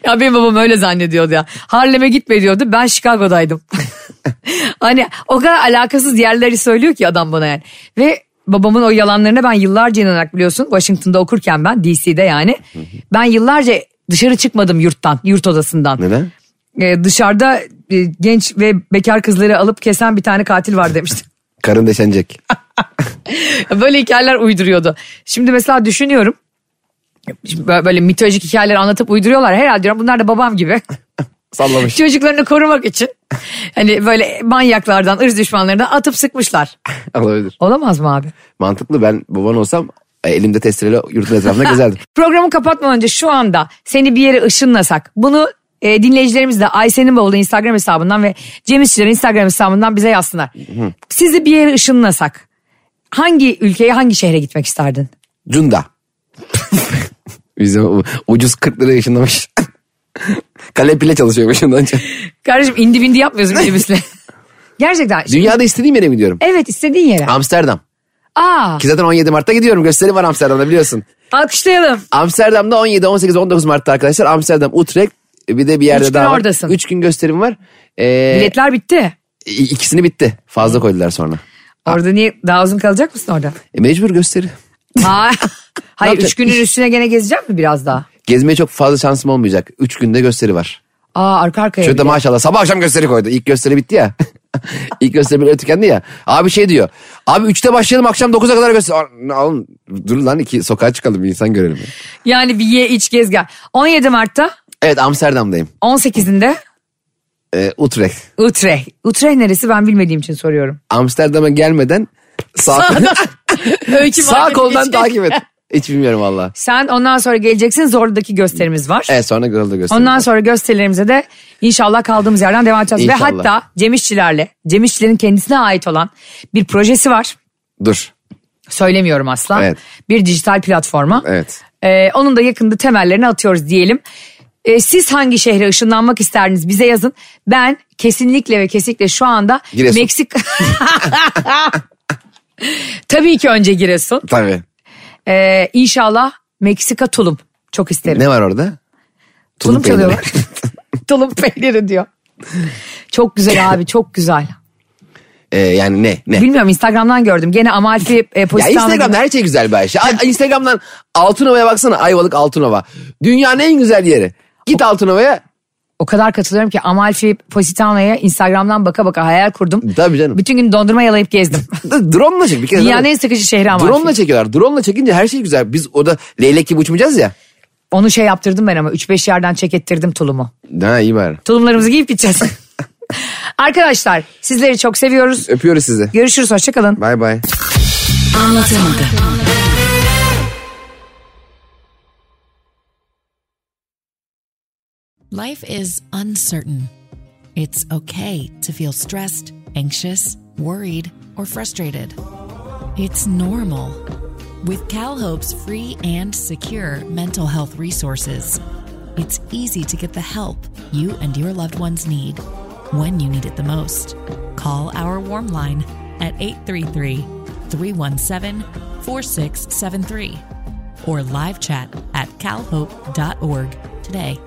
Speaker 2: ya benim babam öyle zannediyordu ya. Harlem'e gitme diyordu ben Chicago'daydım. hani o kadar alakasız yerleri söylüyor ki adam bana yani. Ve babamın o yalanlarına ben yıllarca inanarak biliyorsun Washington'da okurken ben DC'de yani. Ben yıllarca dışarı çıkmadım yurttan, yurt odasından.
Speaker 3: Neden?
Speaker 2: Ee, dışarıda e, genç ve bekar kızları alıp kesen bir tane katil var demişti.
Speaker 3: Karın deşenecek.
Speaker 2: Böyle hikayeler uyduruyordu. Şimdi mesela düşünüyorum. Şimdi bö- Böyle mitolojik hikayeler anlatıp uyduruyorlar. Herhalde diyorum bunlar da babam gibi.
Speaker 3: Sallamış.
Speaker 2: Çocuklarını korumak için. Hani böyle manyaklardan, ırz düşmanlarından atıp sıkmışlar.
Speaker 3: Olabilir.
Speaker 2: Olamaz mı abi?
Speaker 3: Mantıklı ben baban olsam e, elimde testereyle yurdun etrafında gezerdim.
Speaker 2: Programı kapatmadan önce şu anda seni bir yere ışınlasak. Bunu e, dinleyicilerimiz de Ayşe'nin bavulu Instagram hesabından ve Cem İşçilerin Instagram hesabından bize yazsınlar. Sizi bir yere ışınlasak. Hangi ülkeye, hangi şehre gitmek isterdin?
Speaker 3: Cunda. Bizim u- ucuz 40 lira yaşındamış. Kale pile çalışıyormuş ondan önce.
Speaker 2: Kardeşim indi bindi yapmıyoruz minibüsle. Gerçekten.
Speaker 3: Dünyada istediğim yere mi gidiyorum?
Speaker 2: Evet istediğin yere.
Speaker 3: Amsterdam.
Speaker 2: Aa,
Speaker 3: Ki zaten 17 Mart'ta gidiyorum. Gösteri var Amsterdam'da biliyorsun.
Speaker 2: alkışlayalım.
Speaker 3: Amsterdam'da 17, 18, 19 Mart'ta arkadaşlar. Amsterdam, Utrecht E, bir de bir yerde
Speaker 2: Üç gün
Speaker 3: daha var.
Speaker 2: oradasın.
Speaker 3: 3 gün gösterim var. Ee,
Speaker 2: Biletler bitti.
Speaker 3: i- ikisini bitti. Fazla koydular sonra.
Speaker 2: Orada niye daha uzun kalacak mısın orada?
Speaker 3: E, mecbur gösteri.
Speaker 2: Aa, Hayır
Speaker 3: yapacak?
Speaker 2: üç günün üstüne gene gezecek mi biraz daha?
Speaker 3: Gezmeye çok fazla şansım olmayacak. 3 günde gösteri var.
Speaker 2: Aa arka arkaya.
Speaker 3: Şurada
Speaker 2: bile.
Speaker 3: maşallah sabah akşam gösteri koydu. İlk gösteri bitti ya. İlk gösteri böyle tükendi ya. Abi şey diyor. Abi 3'te başlayalım akşam 9'a kadar gösteri. Aa, Oğlum dur lan iki sokağa çıkalım bir insan görelim. ya.
Speaker 2: Yani bir ye iç gez gel. 17 Mart'ta
Speaker 3: Evet Amsterdam'dayım.
Speaker 2: 18'inde
Speaker 3: Ee, Utrecht.
Speaker 2: Utrecht. Utrecht neresi ben bilmediğim için soruyorum.
Speaker 3: Amsterdam'a gelmeden sağ,
Speaker 2: Öykü
Speaker 3: sağ
Speaker 2: markete
Speaker 3: koldan
Speaker 2: geçecek.
Speaker 3: takip et. Hiç bilmiyorum valla.
Speaker 2: Sen ondan sonra geleceksin. Zorlu'daki gösterimiz var.
Speaker 3: Evet sonra Girl'da gösterdim.
Speaker 2: Ondan sonra gösterilerimize de inşallah kaldığımız yerden devam edeceğiz.
Speaker 3: İnşallah.
Speaker 2: Ve hatta Cem İşçilerle, Cem İşçilerin kendisine ait olan bir projesi var.
Speaker 3: Dur.
Speaker 2: Söylemiyorum asla.
Speaker 3: Evet.
Speaker 2: Bir dijital platforma.
Speaker 3: Evet.
Speaker 2: Ee, onun da yakında temellerini atıyoruz diyelim. Ee, siz hangi şehre ışınlanmak isterdiniz bize yazın. Ben kesinlikle ve kesinlikle şu anda
Speaker 3: Giresun.
Speaker 2: Meksika... Tabii ki önce Giresun.
Speaker 3: Tabii.
Speaker 2: Ee, inşallah Meksika Tulum. Çok isterim.
Speaker 3: Ne var orada?
Speaker 2: Tulum
Speaker 3: peyniri.
Speaker 2: çalıyorlar. Tulum peyniri diyor. Çok güzel abi çok güzel.
Speaker 3: Ee, yani ne? Ne?
Speaker 2: Bilmiyorum Instagram'dan gördüm. Gene Amalfi e,
Speaker 3: Ya
Speaker 2: Positano'da-
Speaker 3: Instagram'da her şey güzel bir Ayşe. Ay- Instagram'dan Altınova'ya baksana. Ayvalık Altınova. Dünyanın en güzel yeri. Git Altınova'ya.
Speaker 2: O kadar katılıyorum ki Amalfi Positano'ya Instagram'dan baka baka hayal kurdum.
Speaker 3: Tabii canım.
Speaker 2: Bütün gün dondurma yalayıp gezdim.
Speaker 3: D- Drone'la çek bir kere.
Speaker 2: Dünyanın
Speaker 3: zaten-
Speaker 2: en sıkıcı şehri Amalfi.
Speaker 3: Drone'la çekiyorlar. Drone'la çekince her şey güzel. Biz orada leylek gibi uçmayacağız ya.
Speaker 2: Onu şey yaptırdım ben ama 3-5 yerden çekettirdim tulumu.
Speaker 3: Ha iyi bari.
Speaker 2: Tulumlarımızı giyip gideceğiz. Arkadaşlar sizleri çok seviyoruz.
Speaker 3: Öpüyoruz sizi.
Speaker 2: Görüşürüz hoşçakalın.
Speaker 3: Bay bay.
Speaker 1: Anlatamadım. Life is uncertain. It's okay to feel stressed, anxious, worried, or frustrated. It's normal. With CalHope's free and secure mental health resources, it's easy to get the help you and your loved ones need when you need it the most. Call our warm line at 833 317 4673 or live chat at calhope.org today.